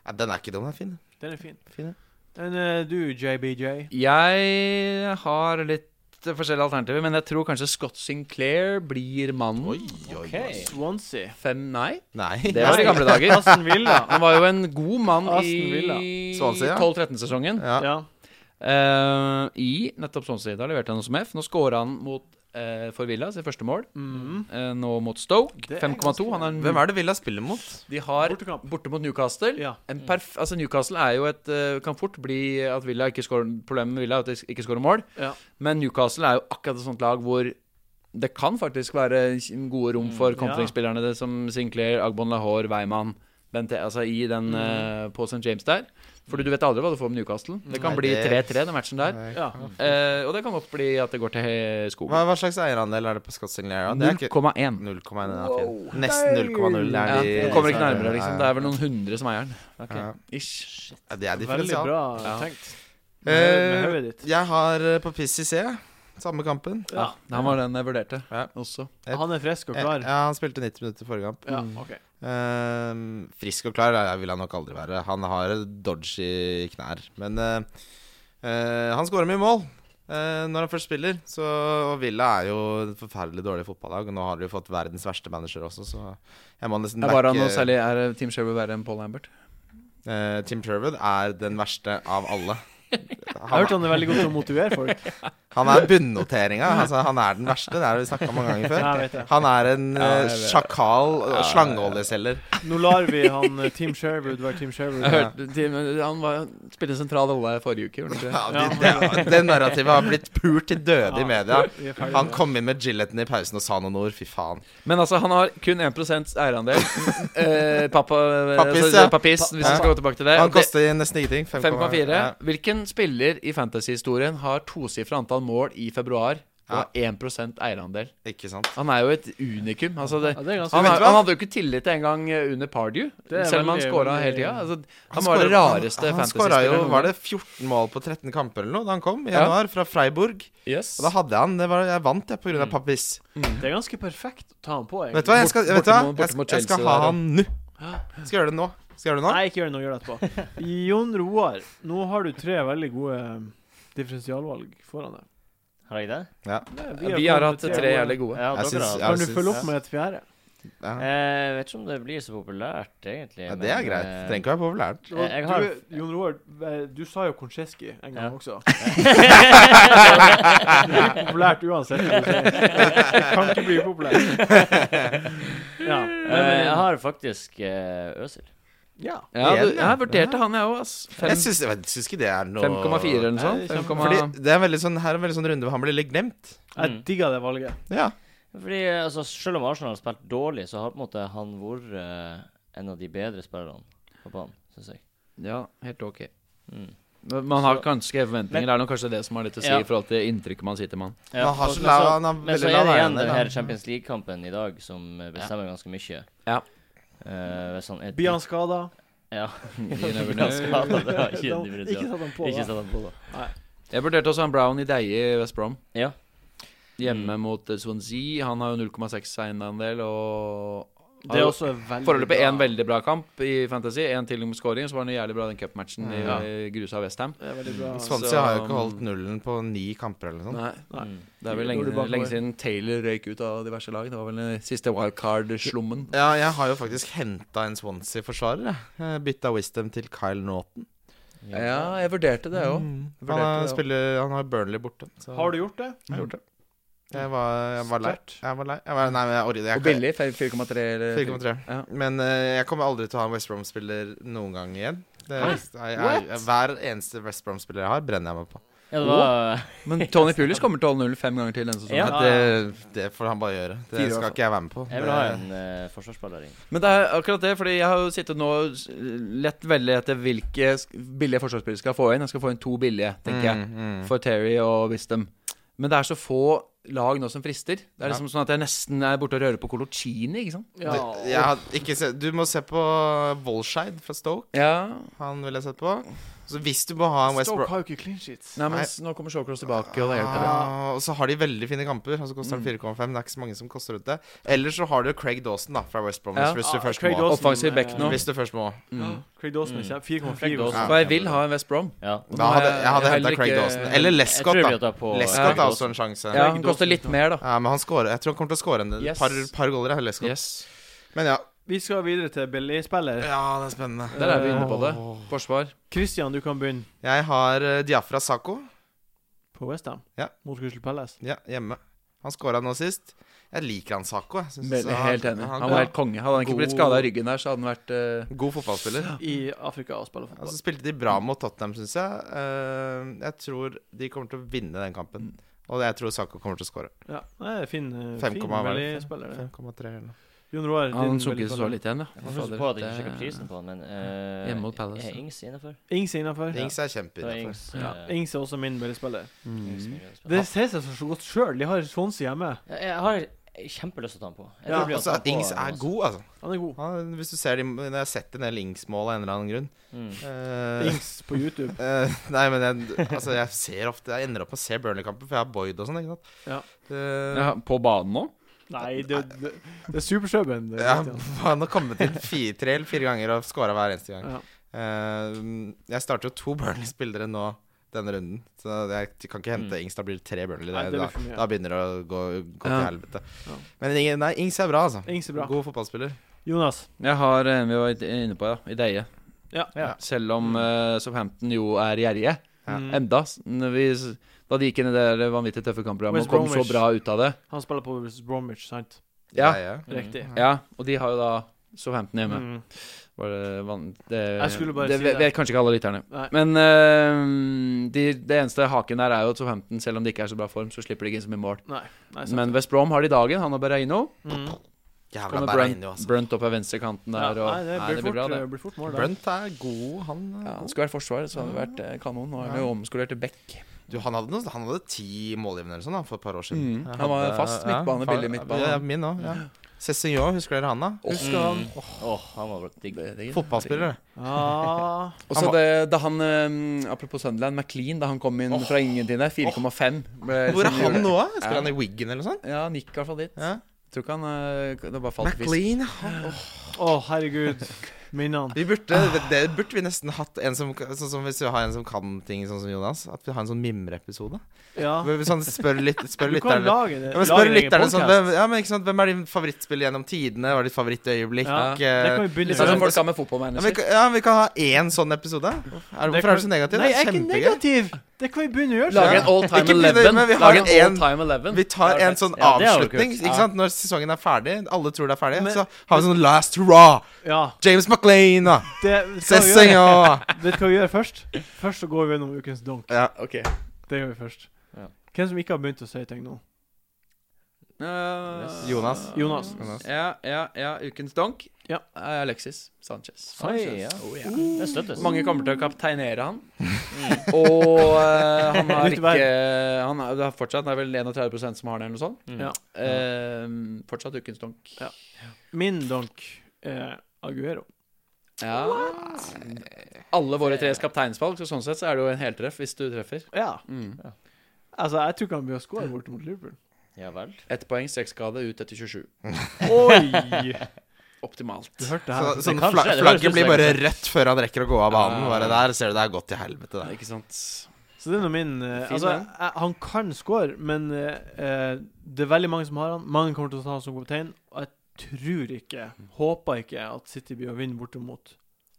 B: Ja, den er ikke dum, den er fin.
A: Den er fin.
B: fin ja.
A: Men eh, du, JBJ
D: Jeg har litt forskjellige alternativer, men jeg tror kanskje Scott Sinclair blir mannen.
B: Oi, oi, oi.
C: Ok.
A: Swansea.
D: Fem, nei.
B: Nei.
D: Det var i gamle dager.
A: Aston Villa.
D: Han var jo en god mann
A: Aston Villa.
D: i
B: Swansea, ja.
D: 12-13-sesongen.
B: Ja.
A: Ja.
D: Eh, I nettopp Swansea. Da leverte han som F. Nå scorer han mot eh, for Villa sitt første mål.
A: Mm.
D: Eh, nå mot Stoke.
A: Det er
D: 5,2.
A: ganske
D: Han er
B: Hvem er det Villa spiller mot?
D: De har
A: Bortekamp.
D: borte mot Newcastle.
A: Ja.
D: En perf altså Newcastle er jo et eh, kan fort bli at Villa ikke scorer Problemet med Villa er at de ikke scorer mål.
A: Ja.
D: Men Newcastle er jo akkurat et sånt lag hvor det kan faktisk være gode rom for
A: Mm, ja.
D: kontringsspillerne det som Sinclair, Agbon Lahore, Weimann Bente, altså i den,
A: Mm.
D: eh, på St. James der. Fordi du vet aldri hva du får med Newcastle. Det kan
B: Nei,
D: bli
B: det- Mm.
D: 3-3, den matchen der.
A: ja.
D: Eh, og det kan godt bli at det går til he-
B: Hva,
D: skogen.
B: hva slags eierandel er det på Scott Sinclair? da? Det er ikke
D: 0,1.
B: 0,1 er fin. Nesten 0,0 er
D: Ja,
B: de.
D: du kommer ikke nærmere, liksom. Det er vel noen hundre som eier den.
B: Ja.
D: Ish.
B: Ja, det er
A: Veldig
B: differensial.
A: bra
D: Ja.
A: tenkt. Med, med
B: Eh,
A: hodet ditt.
B: jeg har eh, på piss i C, samme kampen.
A: Ja.
D: Han var den jeg vurderte
B: Ja.
D: også.
B: Et-
A: Han er frisk og
B: Eh,
A: klar. Mm.
B: Ja, han spilte 90 minutter forrige kamp.
A: Ja, OK.
B: Eh, frisk og klar eh, vil han nok aldri være. Han har dodgy knær. Men eh, eh, han skårer mye mål eh, når han først spiller. Så, og Villa er jo et forferdelig dårlig fotballag. Og nå har de jo fått verdens verste manager også, så jeg må nesten
D: Er bare
B: backe-
D: noe særlig Er eh, Team Sherwood verre enn Paul Lambert?
B: Eh, Tim Sherwood er den verste av alle.
A: Jeg har
B: Han,
A: hørt han er veldig god til å motivere folk.
B: han er bunnoteringa. Altså, han er den verste. Det har vi snakka om mange ganger før.
A: Ja, jeg vet det.
B: Han er en
D: Ja,
B: eh,
D: jeg vet.
B: sjakal og slangeoljeselger.
A: Nå lar vi han eh, Team Sherwood være Team Sherwood.
D: Jeg hørte Team, Han var, spilte en sentral rolle i forrige uke.
B: Ja,
D: gjorde han ikke
B: det,
A: Ja.
B: det, det narrativet har blitt pult til døde i media.
A: vi er ferdig
B: Han
A: med det.
B: kom inn med gilleten i pausen og sa noen ord. Fy faen.
D: det? Men altså, han har kun 1 eierandel. eh, pappa,
B: Pappis,
D: altså,
B: ja.
D: Pappis,
B: Pa-
D: hvis vi skal gå tilbake til det.
B: Han
D: Eh, Det-
B: koster nesten ingenting.
D: 5,4.
B: Ja.
D: Hvilken spiller i fantasyhistorien har tosifra antall mål i februar og 1 eierandel?
B: Ikke sant.
D: Han er jo et unikum. Altså det,
A: Ja, det er ganske
D: han,
B: Vet
D: har-
B: du hva?
D: han hadde jo ikke tillit engang eh, under Pardew,
A: Det er
D: selv om han
A: veldig-
D: skåra
A: veldig-
D: hele tida. Altså, han,
B: Han
D: var det
B: skåra-
D: rareste
B: Han skåra jo
D: fantasyspilleren.
B: var det 14 mål på 13 kamper eller noe da han kom i
D: Ja.
B: januar, fra Freiburg.
D: Yes.
B: Og da hadde han det var, Jeg vant, jeg,
D: Mm.
B: pga. pappis.
A: Det er ganske perfekt å ta han på,
B: Vet
A: egentlig.
B: du hva, jeg skal, vet du hva?
D: Borte mot-
B: Jeg,
D: borte mot
B: skal- jeg skal
D: Chelsea
B: ha
D: der,
B: han nå. Skal gjøre det nå. Skal gjøre det nå?
A: Nei, ikke gjør det nå, gjør det etterpå. Jon Roar, nå har du tre veldig gode eh, differensialvalg foran deg.
C: Har jeg det?
A: Nei,
D: Vi har
A: kommet
D: hatt
A: til
D: tre jævlig gode.
C: Ja,
B: Jeg
C: dere
B: syns-
C: har Eh,
A: Kan du
B: Jeg
A: følge
B: syns-
A: opp med et fjerde?
B: Ja.
C: Jeg vet ikke om det blir så populært, egentlig.
B: Ja, det er
C: men,
B: greit.
C: eh,
B: Trenger ikke å være populært.
A: Du,
C: Jeg- jeg har-
A: Jon Roar, eh, du sa jo Koncheski en gang
C: Ja.
A: også. Det er populært uansett. hva du sier. Det kan ikke bli populært. Ja.
C: eh, jeg har faktisk eh, Øsil.
A: ja.
D: Ja,
B: Igjen,
D: du,
B: ja.
D: jeg vurderte han, jeg òg. ass. Fem-
B: Jeg syns jeg syns ikke det er noe
D: 5,4 eller noe sånt.
A: Nei, det er
D: 5,-
B: Fordi det er en veldig sånn, her er en veldig sånn runde hvor han blir litt glemt.
C: Mm.
A: Jeg digga det valget.
B: Ja.
C: Fordi eh, altså, Selv om Arsenal har spilt dårlig, så har på en måte han vært eh, en av de bedre spillerne på banen, syns jeg.
D: ja, helt ok.
C: Mm.
D: Men Man har
C: Så-
D: ganske høye forventninger.
C: Men-
D: Det er nok kanskje det som har litt å si
C: Ja.
D: i forhold til inntrykket man sitter med han.
C: Ja,
B: han har
C: og-
B: så
C: men
B: lav- han har
C: men så
B: veldig
C: er
B: lav
C: det igjen
B: eierandel,
C: den
B: da.
C: her Champions League-kampen i dag som eh, bestemmer ganske mye.
D: Ja.
C: Eh, hvis han er
A: Blir han skada?
C: Ja.
D: You never
C: Blir
D: know.
C: han skadet, det var ikke
A: Ikke
C: en differensial.
A: satt han på.
C: Ikke
A: da.
C: sett han på, da.
D: Jeg vurderte også han Brown i Deie i West Brom.
C: Ja.
D: Hjemme mot eh, Swansea. Han har jo 0,6 eiendel og
A: Det er også veldig
D: Foreløpig
A: bra.
D: én veldig bra kamp i Fantasy, én til med scoring. Så var han jævlig bra den cupmatchen i
A: Ja. Sånn.
D: eh, grusa Westham.
A: Det er veldig
B: Mm,
A: bra. altså.
B: Swansea har jo ikke holdt nullen på ni kamper eller noe sånt.
D: Nei,
A: Nei.
C: Mm.
D: det er vel
A: Går du
D: lenge,
A: bakover?
D: lenge siden Taylor røyk ut av diverse lag. Det var vel den siste wildcard-slummen.
B: Ja, jeg har jo faktisk henta en Swansea-forsvarer. jeg. jeg. Bytta Wisdom til Kyle Naughton.
D: Ja, jeg vurderte det òg.
B: Mm. Han,
D: Jeg vurderte
B: er-
D: det også.
B: spiller, han har Burnley borte. Så.
A: Har du gjort det?
D: Mm.
B: Jeg har gjort det. Jeg var, jeg var lei.
A: Sterkt.
B: Jeg var lei. Jeg var, nei, men jeg orker jeg
D: Og
B: kan-
D: billig. 4,3 eller
B: 4,3.
D: Ja.
B: Men eh, jeg kommer aldri til å ha en West Brom-spiller noen gang igjen. Det,
A: Hæ?
B: jeg, jeg, jeg, hver eneste West Brom-spiller jeg har, brenner jeg meg på.
C: Ja, det var
D: Men Tony Pulis kommer til å holde 0 fem ganger til denne sesongen.
C: Ja.
B: Nei, det, det får han bare gjøre. Det
A: Fire,
B: skal
A: altså.
B: ikke jeg være med på. Mm,
C: Jeg vil ha
B: Det-
C: en eh, forsvarsspiller inn.
D: Men det er akkurat det, fordi jeg har jo sittet nå og s- lett veldig etter hvilke sk- billige forsvarsspillere skal jeg få inn. Jeg skal få inn to billige, tenker jeg.
B: Mm, mm.
D: For Terry og Wisdom. Men det er så få lag nå som frister. Det er liksom sånn at jeg nesten er borte og rører på Colocini, ikke sant?
A: Ja,
B: Det- jeg hadde ikke sett- du må se på Wolscheid fra Stoke.
D: Ja.
B: Han ville jeg sett på. Så hvis du må ha en West
A: Stoke
B: Brom
A: har jo ikke clean sheets.
D: Nei, men s- nå kommer Showcross tilbake, og det hjelper. Mm.
B: ah, Og så har de veldig fine kamper. Og så koster den 4,5. Det er ikke så mange som koster rundt det. Eller så har du Craig Dawson da fra West Brom.
D: Ja.
B: Hvis, du
A: Ah,
B: først
A: Craig
B: må. Mm.
A: Dawson,
D: Offensiv back
A: eh,
D: nå.
B: hvis du først må.
A: Ja, Craig Dawson er kjempe- 4,4.
C: Mm. Craig Dawson.
B: Ja.
D: Mm. For jeg vil ha en West Brom.
C: Ja.
B: Da hadde, jeg hadde
D: Heller
B: henta Craig
D: ikke-
B: Dawson. Eller
C: Jeg
B: Lescott,
C: tror vi
B: da.
C: har tatt på
B: Lescott altså.
C: eh,
B: er også en sjanse.
D: Ja, han koster litt mer, da.
B: Ja, men han scorer, jeg tror han kommer til å score en del.
D: Yes.
B: par, par goller. jeg, Lescott.
D: Yes.
B: Men ja.
A: Vi skal videre til billigspiller.
B: ja, det er spennende.
D: Der er vi inne på det.
B: Åh.
D: Forsvar.
A: Christian, du kan begynne
B: Jeg har eh, Diafra Sako
A: på Westham
B: Ja.
A: mot Crystal Palace.
B: ja, hjemme. Han scora nå sist. Jeg liker han Sako. Jeg synes-
D: Men,
B: han-
D: helt enig.
B: han-
D: Han var helt konge. Hadde han ikke
B: God-
D: blitt skada i ryggen der, så hadde han vært eh,
B: God fotballspiller.
A: I Afrika og spiller
B: Ja, så
A: fotball.
B: spilte de bra mot Tottenham, syns jeg. Eh, jeg tror de kommer til å vinne den kampen. Og jeg tror Sako kommer til å skåre.
A: Ja, det er fin, eh,
B: Fem
A: fin
B: komma, hva er det?
A: billigspiller. det.
B: 5,3 eller noe.
A: Jon Roar,
D: Han
A: din
D: sunket så
A: billigspiller.
D: litt igjen, ja.
C: Jeg får huske på at jeg ikke sjekket prisen på han, men eh,
D: Hjemme mot Palace,
C: Er
D: ja.
C: Ings innafor?
A: Ings er innafor.
B: Ings er altså.
C: Da er
B: kjempeinnafor.
C: Ings
D: Ja.
C: eh,
A: Ings er også min billigspiller.
C: Ings
D: Mm.
C: mye bedre.
A: Det ser seg så godt sjøl. De har Swansea hjemme.
C: Ja, Jeg har kjempelyst til å ta han på. Jeg
A: Ja,
C: tror vi har
B: Altså,
C: tatt han på,
B: Ings er
C: altså.
B: god, altså.
A: Han er god.
B: Han, hvis du ser de, når jeg har sett en del Ings-mål av en eller annen grunn
C: Mm.
B: Eh,
A: Ings på YouTube.
B: Eh, nei, men jeg, altså, jeg ser ofte Jeg ender opp med å se Burnley-kamper, for jeg har Boyd og sånn. ikke sant?
A: Ja.
B: Eh,
D: Ja, På banen nå?
A: Nei, det, det, det er supersubben. det,
B: ja,
A: Christian.
B: Han har kommet inn fire, tre eller fire ganger og scora hver eneste gang.
A: Ja.
B: Eh, jeg starter jo to Burnley-spillere nå denne runden, så jeg kan ikke hente Ings. Da blir det tre Burnley.
A: Mm. Nei,
B: Det,
A: det blir for
B: da,
A: mye.
B: da begynner det å gå, gå til
D: Ja.
B: helvete.
A: Ja.
B: Men Ing- nei, Ings er bra, altså.
A: Ings er bra.
B: God fotballspiller.
A: Jonas.
D: Jeg har en vi var inne på, ja. Ideie.
A: Ja.
B: Ja.
D: Selv om eh, Southampton jo er gjerrige.
B: Ja.
A: Mm.
D: Enda. s- når vi s- Da de gikk inn i det der vanvittige tøffe kampprogrammet
A: West
D: og kom så
A: Bromwich.
D: bra ut av det.
A: Han spiller på versus Bromwich, sant?
D: Ja.
B: Jeg, er-
A: Riktig.
D: Ja, og de har jo da Southampton hjemme.
A: Mm.
D: Var det, van, det,
A: Jeg skulle bare
D: det
A: si det.
D: vet, vet kanskje ikke alle lytterne.
A: Nei.
D: Men eh, de, det eneste haken der er jo at Southampton, selv om de ikke er i så bra form, så slipper de ikke inn så mye mål.
A: Nei. nei sant Mm.
D: Men
A: det.
D: West Brom har de dagen, han og Berreino.
A: Mm.
B: Jævla
D: Kommer Brunt,
B: Berreino, altså.
D: Brunt opp av venstrekanten
A: ja,
D: der. Og,
A: nei, det blir, fort, eh,
D: bra,
A: det.
D: det.
A: blir fort mål, da.
B: Brunt er god, han. er
D: Ja, han
B: god.
D: skulle vært forsvarer, så hadde det vært eh, kanon. Nå er han jo omskolert til back.
B: Du, han, hadde noe, han hadde ti målgivende eller sånn da, for et par år siden.
D: Mm,
B: Jeg
D: han var
B: hadde-
D: fast midtbane, billig midtbane.
B: Ja, min òg. Ja. Cézinho, husker dere han, da?
D: Husker han.
C: Mm. Åh, han var digg.
B: Fotballspiller.
A: Ah,
D: Og så
B: Han
D: det, da han eh, Apropos Sunderland, McLean, da han kom inn fra ingenting der, 4,5 ble
B: Hvor er
D: liksom-
B: han nå? da?
D: Ja.
B: Spiller han i Wiggen eller sånn? noe sånt?
D: Ja, han gikk i hvert fall dit.
B: Ja.
D: Tror ikke han eh, Det bare falt fisk.
B: McLean han- åh.
A: Å, herregud. Minnene.
B: Vi burde, det, det burde vi nesten hatt en som, sånn som Hvis vi har en som kan ting, sånn som Jonas. At vi har en sånn mimreepisode.
A: Ja.
B: Hvis han spør litt Spør
A: Ah. Du kan
B: lytterne
A: lage det.
B: ja, men
A: lage
B: spør
A: en egen
B: lytterne sånn,
A: podcast.
B: hvem, ja, men ikke sant, hvem er din favorittspill gjennom tidene? Hva er ditt favorittøyeblikk?
A: Ja, det
B: Eh,
A: kan vi begynne
D: Litt sånn som
A: med.
D: folk har med
B: ja, men, vi
D: fotballmanager.
B: kan- ja, men vi kan ha én sånn episode. Er, hvorfor er du så negativ?
A: Nei,
B: Det
A: jeg er ikke
B: kjempegøy.
A: negativ! Det kan vi begynne å gjøre.
D: Lage en all
B: Ikke
D: time
B: begynn,
D: eleven.
B: men vi har
D: Lage en
B: en-
D: all time eleven.
B: Vi tar
D: Det er
B: en sånn
C: Ja, det hadde vært
B: avslutning.
C: kult.
B: Ikke
C: Ja.
B: sant? Når sesongen er ferdig, alle tror det er ferdig,
A: Men-
B: så har vi sånn last hurrah.
A: Ja,
B: James McLean og
A: det skal vi
B: Sessing
A: gjøre.
B: og
A: Vet du hva vi gjør først? Først så går vi gjennom ukens donk.
B: ja.
D: Ok.
A: Det gjør vi først.
C: Ja.
A: Hvem som ikke har begynt å si ting nå?
D: Eh,
B: Jonas.
A: Jonas.
D: Ja, ja, ja. Ukens donk.
A: Ja.
D: Eh, Alexis Sanchez.
C: Oi, ja.
D: Oh, ja.
C: Det støttes. Mm.
D: Mange kommer til å kapteinere han. Og eh, han har
A: Nytt
D: ikke
A: verv.
D: Han er, det er fortsatt det er vel 31 som har den, eller noe sånt.
C: Mm.
A: Ja.
D: Eh, fortsatt ukens donk.
A: Ja. Min donk er Aguero.
D: Ja. Alle våre tres kapteinsvalg, så sånn sett så er det jo en heltreff hvis du treffer.
A: Ja.
D: Mm.
A: Altså, jeg tror ikke han blir å score borte mot Liverpool.
C: Ja vel.
D: Ett poeng, seks skade, ut etter 27.
A: Oi!
D: Optimalt.
A: Du hørte det
B: Så,
A: her.
B: sånn
C: kanskje-
B: fla
C: det høres ut
B: flagget
C: som
B: blir
C: det
B: bare
C: kanskje.
B: rødt før han rekker å gå av banen.
D: Ja.
B: Bare der ser du det har gått til helvete. Der.
D: Ikke sant.
A: Så det er nå min eh,
D: Fin
A: Altså,
D: den.
A: jeg, han kan score, men eh, eh, det er veldig mange som har han. Mange kommer til å ta han som kaptein. Og jeg tror ikke, håper ikke, at City blir å vinne borte mot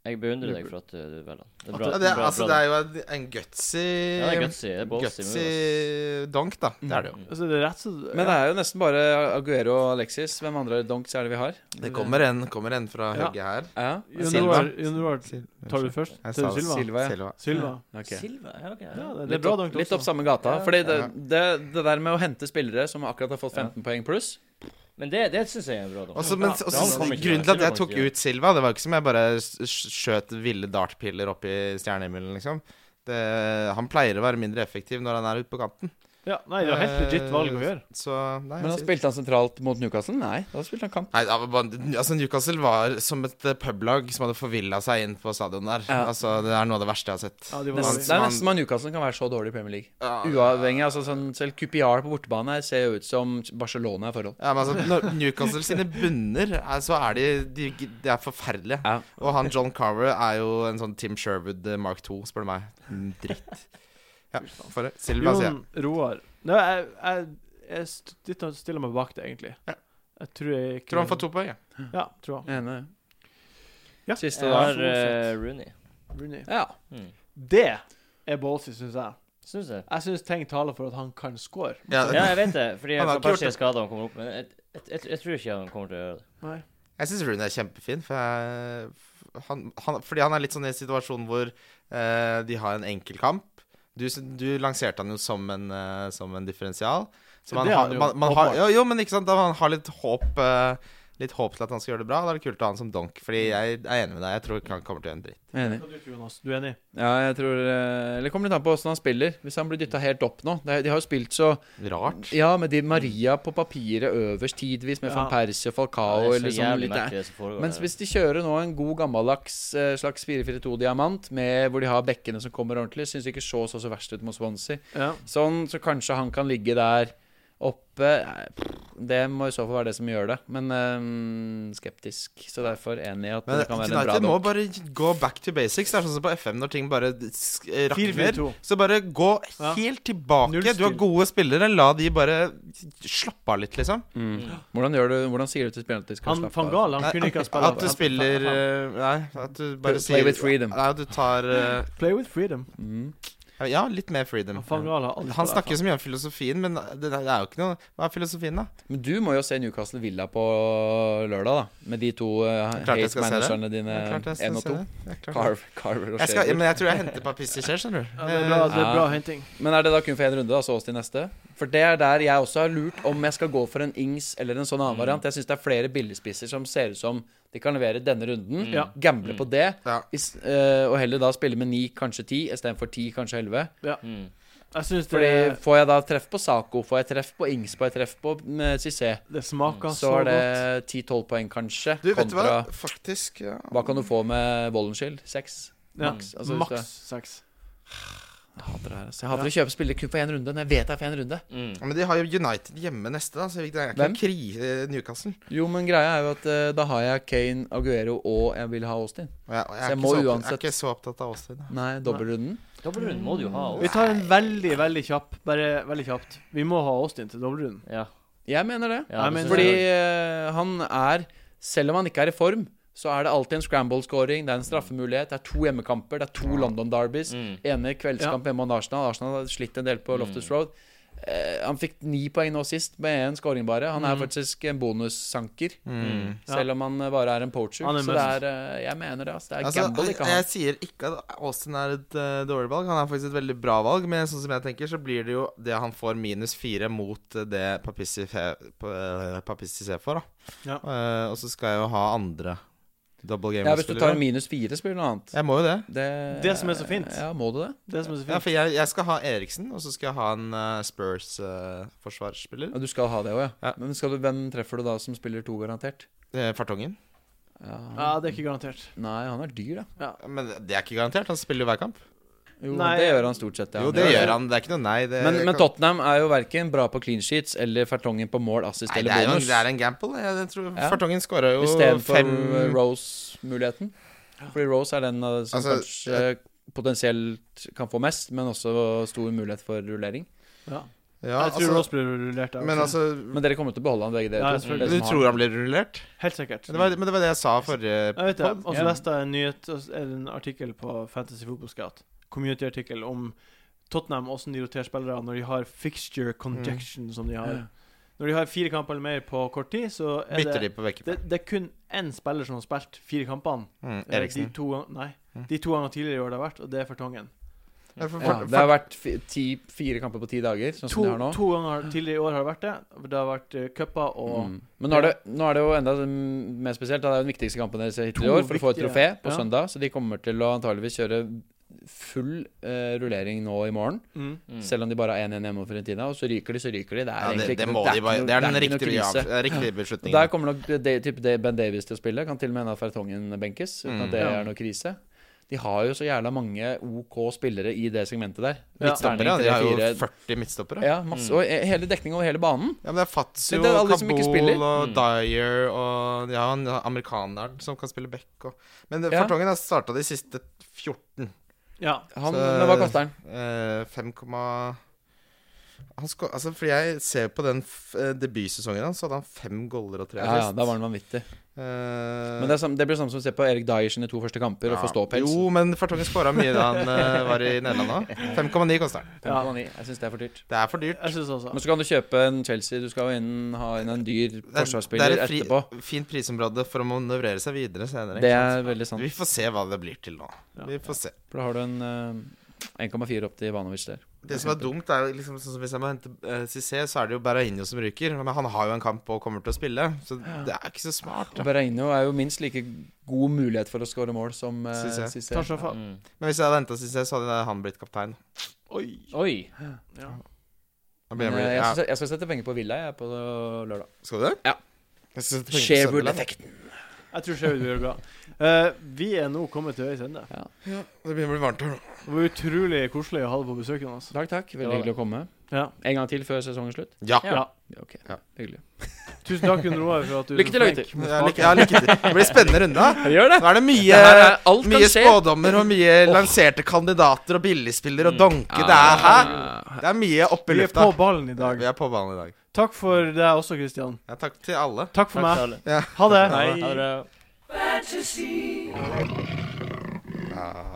C: Jeg beundrer deg for at uh, du velger han. Det er bra.
B: Ja, det, er-
C: bra,
B: altså,
C: bra.
B: det er jo en, en gutsy
C: ja, det er gutsy. Det er ballsy. altså. move,
B: gutsy donk, da. Mm. Det er det jo.
A: Altså, det er rett så
D: Men det er jo nesten bare Aguero og Alexis. Hvem andre donks er det vi har?
B: Det kommer en, kommer en fra
A: Ja.
B: Høgge her.
D: Ja.
A: Jon
B: Silva.
A: Roar- Jon Roar, tar du først?
B: Jeg
A: Tar
B: sa
A: du Silva?
D: Silva, ja.
B: Silva.
A: Silva.
C: altså. Silva? Ja, ok.
A: Ja, det, det er
D: Litt,
A: bra
D: opp,
A: dunk
D: litt opp
A: også.
D: samme gata.
C: Ja.
D: Fordi det, det, det der med å hente spillere som akkurat har fått
C: Ja.
D: 15 poeng pluss
C: Men det, det syns jeg er bra. Da.
B: Også, men,
A: Ja,
B: også,
C: han kommer ikke
B: grunnen til
C: til å
B: at jeg
C: komme
B: tok
C: til å-
B: ut Silva, det var ikke som jeg bare s- skjøt ville dartpiller opp i stjernehimmelen, liksom. Det, han pleier å være mindre effektiv når han er ute på kanten.
A: Ja, nei, det er helt
B: Eh,
A: legit valg å gjøre.
B: Så nei,
D: Men han
B: jeg-
D: spilte han sentralt mot Newcastle? Nei, da spilte han kamp.
B: Nei, det var bare, altså Newcastle var som et eh, publag som hadde forvilla seg inn på stadion der.
D: Ja.
B: Altså, Det er noe av det verste jeg har sett.
A: Ja, de var
B: Nesten-
D: Nesten,
A: dårlige.
D: det er
B: han-
D: nesten man Newcastle kan være så dårlig i Premier League.
B: Ja,
D: Uavhengig, altså sånn, Selv QPR på bortebane her ser jo ut som Barcelona i forhold.
B: Ja, men altså, når Newcastle sine bunner, er- så er de, de, de er forferdelige.
D: Ja.
B: Og han John Carver er jo en sånn Tim Sherwood eh, Mark 2, spør du meg. Mm, Dritt. Ja, for det. Silva, sier jeg.
A: Jon Roar Nei, jeg, jeg, jeg st- dytter- stiller meg bak det, egentlig.
B: Ja.
A: Jeg tror jeg ikke
B: Tror han får to poeng, jeg.
A: Ja, tror han.
D: Enig.
A: Ja.
D: Siste
C: Jeg
D: da.
C: har eh, Rooney.
A: Rooney.
D: Ja.
C: Mm.
A: Det er ballsy, syns jeg.
C: Syns jeg.
A: Jeg syns ting taler for at han kan score.
C: Ja, jeg vet det, fordi
B: Han har
C: jeg
B: ikke gjort
C: kanskje
B: det.
C: er skada og kommer opp. Men jeg, jeg, jeg, jeg tror ikke han kommer til å gjøre det.
A: Nei.
B: Jeg syns Rooney er kjempefin, for jeg, han, han, fordi han er litt sånn i en situasjon hvor eh, de har en enkel kamp. Du, s- du lanserte han jo som en, eh, som en differensial. Så
A: Ja,
B: man
A: det er
B: har,
A: han jo,
B: man, man har,
A: åpenbart.
B: jo, jo, men ikke sant, da man har litt håp eh, Litt håp til at han skal gjøre det bra. Da er det kult å ha han som donk. Fordi jeg er enig med deg. Jeg tror ikke han kommer til å gjøre en dritt.
D: Enig.
A: Hva du tror, Jonas? Du er enig?
D: Ja, jeg tror eh, Eller kommer litt an på åssen han spiller. Hvis han blir dytta helt opp nå det, er- De har jo spilt så
B: Rart.
D: Ja, med de Maria på papiret øverst tidvis, med
A: Ja.
D: van Persie og
C: det
D: Falcao
C: er så
D: eller sånn
C: jævlig
D: litt
C: merkelig det som foregår
D: Mens
C: der.
D: hvis de kjører nå en god gammeldags eh, slags 4-4-2-diamant, med hvor de har bekkene som kommer ordentlig, syns det ikke så så, så verst ut mot Swansea.
A: Ja.
D: Sånn, så kanskje han kan ligge der oppe Nei, pff, Det må i så fall være det som gjør det. Men eh, skeptisk. Så derfor enig i at
B: Men
D: det kan være en bra
B: United må
D: dom.
B: bare gå back to basics. Det er sånn som på FM når ting bare sk- rakner.
A: 4-4-2.
B: Så bare gå
A: Ja.
B: helt
A: Null
B: tilbake. Du har
A: styr.
B: gode spillere. La de bare slappe av litt, liksom.
D: Mm. Hvordan, gjør du, hvordan sier du til spillerne at de skal
A: Han
D: slappe
A: van
D: av?
A: Gaal, han
B: Nei,
A: kunne ikke ha spilt
B: At du spiller eh, Nei, at du bare
D: Play
B: sier
D: with freedom.
B: Nei, at du tar eh,
A: Play with freedom.
D: Mm.
B: Ja, litt mer freedom.
A: Van Gaal har altså. aldri
B: Han
A: spilt
B: snakker så mye om filosofien, men det det er jo ikke noe Hva er filosofien, da?
D: Men du må jo se Newcastle Villa på lørdag, da. Med de to uh,
B: Klart jeg skal se det.
D: hate-managerne dine,
B: Det er klart jeg skal
D: én Eh,
B: se
D: og to.
B: det. Det er klart.
D: Carver, Carver og
B: Jeg skal,
D: Shaver.
B: men jeg tror jeg henter papister selv, skjønner du. Eh,
A: Ja, det er bra, det er bra
D: Ja.
A: henting.
D: Men er det da kun for én runde, da, så oss til neste? For det er der jeg også har lurt om jeg skal gå for en Ings eller en sånn annen
C: Mm.
D: variant. Jeg syns det er flere billigspisser som ser ut som de kan levere denne runden.
C: Mm.
A: Ja.
D: Gamble på det,
B: Ja.
D: is, eh, og heller da spille med ni, kanskje ti, istedenfor ti, kanskje elleve.
C: Mm.
A: Jeg syns det,
D: Fordi får jeg da treff på Saco, får jeg treff på Ings, får jeg treff på mm, Cissé,
A: det smaker så,
D: så er det
A: godt.
D: ti-tolv poeng, kanskje.
B: Du, vet du hva?
D: kontra
B: Faktisk ja.
D: hva kan du få med Wollenshield? Seks?
A: Ja.
D: Maks. Altså,
A: Maks
D: hvis du-
A: seks.
D: Jeg hater det her. altså. Jeg hater å kjøpe spillere kun for én runde, når jeg vet det er for én runde.
C: Mm.
B: Ja, Men de har jo United hjemme neste, da, så det er ikke
D: Hvem?
B: noen kri eh, Newcastle.
D: Jo, men greia er jo at eh, da har jeg Kane, Aguero og jeg vil ha Austin.
B: Og jeg, og jeg,
D: Så
B: er
D: jeg
B: ikke
D: må
B: så opp- jeg
D: uansett-
B: er ikke så opptatt av Austin. da.
D: Nei, dobbeltrunden.
C: Dobbeltrunden må du jo ha.
A: Vi
C: Også.
A: tar en veldig, veldig kjapp. Bare veldig kjapt. Vi må ha Austin til dobbeltrunden.
C: Ja.
D: Jeg mener det.
C: Ja,
A: Nei,
C: det
A: men-
C: synes
D: Fordi
C: jeg
D: eh, han er Selv om han ikke er i form, så er det alltid en scramble-scoring, det er en straffemulighet, det er to hjemmekamper, det er to London Derbys.
C: Mm.
D: Ene kveldskamp hjemme mot Arsenal. Arsenal har slitt en del på
A: Mm.
D: Loftus Road. Eh, han fikk ni poeng nå sist med én scoring bare. Han er faktisk en bonussanker.
B: Mm.
A: Mm. Ja.
D: Selv om han eh, bare er en poacher.
A: Han er
D: så det
A: mest-
D: er eh, Jeg mener det, altså. Det er
B: Altså,
D: gamble,
B: jeg,
D: ikke han.
B: jeg sier ikke at Austin er et eh, dårlig valg. Han er faktisk et veldig bra valg, men sånn som jeg tenker, så blir det jo det han får minus fire mot eh, det Papissi fe- på, eh, Papissi ser for. Da.
A: Ja.
B: Eh, og så skal jeg jo ha andre double
D: Ja, hvis du tar
B: game-spillere.
D: minus fire, spiller du noe annet.
B: jeg må jo det.
D: Det,
A: Det som er så fint.
D: Ja, må du det?
A: Det som er så
B: Ja,
A: fint.
B: for jeg, jeg skal ha Eriksen, og så skal jeg ha en eh, Spurs-forsvarsspiller.
D: Ja, du skal ha det òg, ja.
B: Ja.
D: Men skal du, hvem treffer du da som spiller to, garantert?
B: Fartongen.
D: Ja, han,
A: Ja, det er ikke garantert.
D: Nei, han er dyr, da.
B: Men det er ikke garantert. Han spiller jo hver kamp.
D: Jo,
A: Nei.
D: det gjør han stort sett. Ja.
B: Jo, det gjør han. Det er ikke noe nei. Det,
D: Men, men
B: kan-
D: Tottenham er jo verken bra på clean sheets eller Fertongen på mål, assist
B: Nei, det er
D: eller
B: jo en,
D: bonus.
B: det er en gamble. Jeg, jeg tror
D: Ja.
B: Fartongen skåra jo
D: Istedenfor
B: fem
D: eh, Rose-muligheten. Fordi Rose er den eh, som
B: Altså,
D: kanskje potensielt kan få mest, men også stor mulighet for rullering.
A: Ja.
B: Ja,
A: jeg tror
B: altså,
A: Ross blir rullert av.
B: men altså
D: Men dere kommer til å beholde han begge dere
A: Ja,
D: to.
A: selvfølgelig.
B: Du
D: Dere som har-
B: tror han blir rullert?
A: Helt sikkert.
B: Men det, var, men det var det jeg sa forrige
A: Jeg vet det. Og så
C: Ja.
A: leste jeg en nyhet, og så er det en artikkel på Fantasy Football Scout, community-artikkel, om Tottenham, hvordan de roterer spillere når de har fixture conjection som de har. Når de har fire kamper eller mer på kort tid, så er
B: Bytter de
A: det,
B: på begge.
A: det, det er kun én spiller som har spilt fire kampene.
B: Mm,
A: Eh,
B: Eriksen.
A: De to, gang- nei,
D: Hm?
A: de to ganger tidligere i år det har vært, og det er Fertongen.
B: Ja, for, for,
D: Ja, det har vært fi- ti, fire kamper på ti dager, sånn
A: To,
D: som det er nå.
A: to ganger tidligere i år har det vært det. Det har vært eh, cuper og
D: Mm. Men nå er, det, nå er det jo enda mm, mer spesielt. da. Det er jo den viktigste kampen deres hittil i
A: To
D: år for å få et
A: viktige-
D: trofé på
A: ja.
D: søndag. Så de kommer til å antageligvis kjøre full eh, rullering nå i morgen.
A: mm.
C: Mm.
D: Selv om de bare har 1-1 hjemme mot Fiorentina. Og så ryker de, så ryker de. Det er
B: ja, det,
D: egentlig
B: det
D: ikke
B: må
D: noe-
B: de bare
D: ikke
B: Det er
D: noe-
B: den
D: ikke noe
B: riktige,
D: krise.
B: av- riktige
D: Og
B: beslutningen.
D: Der kommer nok de, typ de Ben Davies til å spille. Kan til og med hende Fertongen benkes. Uten
B: Mm.
D: at det
A: Ja.
D: er noe krise. De har jo så jævla mange OK spillere i det segmentet der.
A: Ja.
B: Midtstoppere, ja.
D: Terning
B: De har
D: tre,
B: jo Mm.
D: fire.
B: 40 midtstoppere.
D: ja, masse, og eh, hele dekningen over hele banen.
B: Ja, men det er Fatsu
D: Men
B: og
D: det er alle som ikke
B: Kabul
D: spiller.
B: og
C: Mm.
B: Dyer og Ja, han amerikaneren som kan spille back og Men det-
D: Ja.
B: Fartongen har starta de siste 14.
A: Ja.
D: Han,
B: Så-
D: men hva koster han?
B: Eh, 5, han sko altså, fordi jeg ser på den f eh, debutsesongen hans, så hadde han fem goller og tre
D: Ja, ja, da var han vanvittig.
B: Eh,
D: Men det, er sam- det blir samme som å se på Erik Dyer sine to første kamper og få ståpels.
B: Jo, men Fartongen skåra mye da han eh, var i Nederland òg. 5,9 koster han.
D: 5,9. Jeg syns det er for dyrt.
B: Det er for dyrt.
A: Jeg syns også.
D: Men så kan du kjøpe en Chelsea. Du skal jo inn ha inn en dyr
B: Det er-
D: forsvarsspiller
B: det er et fri-
D: etterpå.
B: fint prisområde for å manøvrere seg videre senere.
D: Det
B: ikke sant?
D: er veldig sant.
B: Vi får se hva det blir til nå.
A: Ja.
B: Vi får se.
D: For da har du en eh, 1,4 opp til Ivanovic der.
B: Det som er dumt, er jo liksom sånn som hvis jeg må hente uh, Cissé, så er det jo Berraino som ryker. Men han har jo en kamp og kommer til å spille, så det er ikke så smart.
D: Og
B: Da.
D: Berreino er jo minst like god mulighet for å skåre mål som uh,
B: Cissé.
D: Cissé.
A: Tar seg faen.
C: Mm.
B: Men hvis jeg hadde henta Cissé, så hadde han blitt kaptein.
A: Oi.
C: Oi.
A: Ja.
B: Da blir han
D: Men, eh,
B: blitt-
D: jeg,
B: ja.
D: skal, se- jeg skal sette penger på Villa jeg, på lørdag.
B: Skal du det?
D: Ja.
B: Jeg synes det er penger på Sunderland.
D: Sherwood-effekten.
A: Jeg tror Sherwood blir bra. Eh, vi er nå kommet til veis ende.
B: Ja, det begynner å bli varmt her nå.
A: Det var utrolig koselig å ha deg på besøk. Jonas.
D: Takk, takk.
C: Det
D: Veldig
C: var det.
D: hyggelig å komme.
A: Ja.
D: En gang til før sesongen slutt.
B: Ja.
C: Ja.
D: Ja, ok,
B: Ja.
D: hyggelig
A: Tusen takk, Gunn Roar, for at du
D: Lykke til,
A: flink
D: lykke til.
A: med
B: Ja,
A: smaken.
B: lykke, ja, lykke til. Det blir spennende runde. da.
D: Gjør
B: Nå er det mye,
D: Det her er- alt kan
B: mye
D: skje.
B: spådommer og mye lanserte kandidater og billigspillere
D: Mm.
B: og donke. Det er her.
D: Ah.
B: Det er mye opp i
A: Vi er
B: lufta.
A: på ballen i dag.
B: Vi er på ballen i dag.
A: Takk for deg også, Christian.
B: Ja, takk til alle.
A: Takk for meg.
C: Takk til alle.
A: Ha det.
C: Ha det.
B: Ah.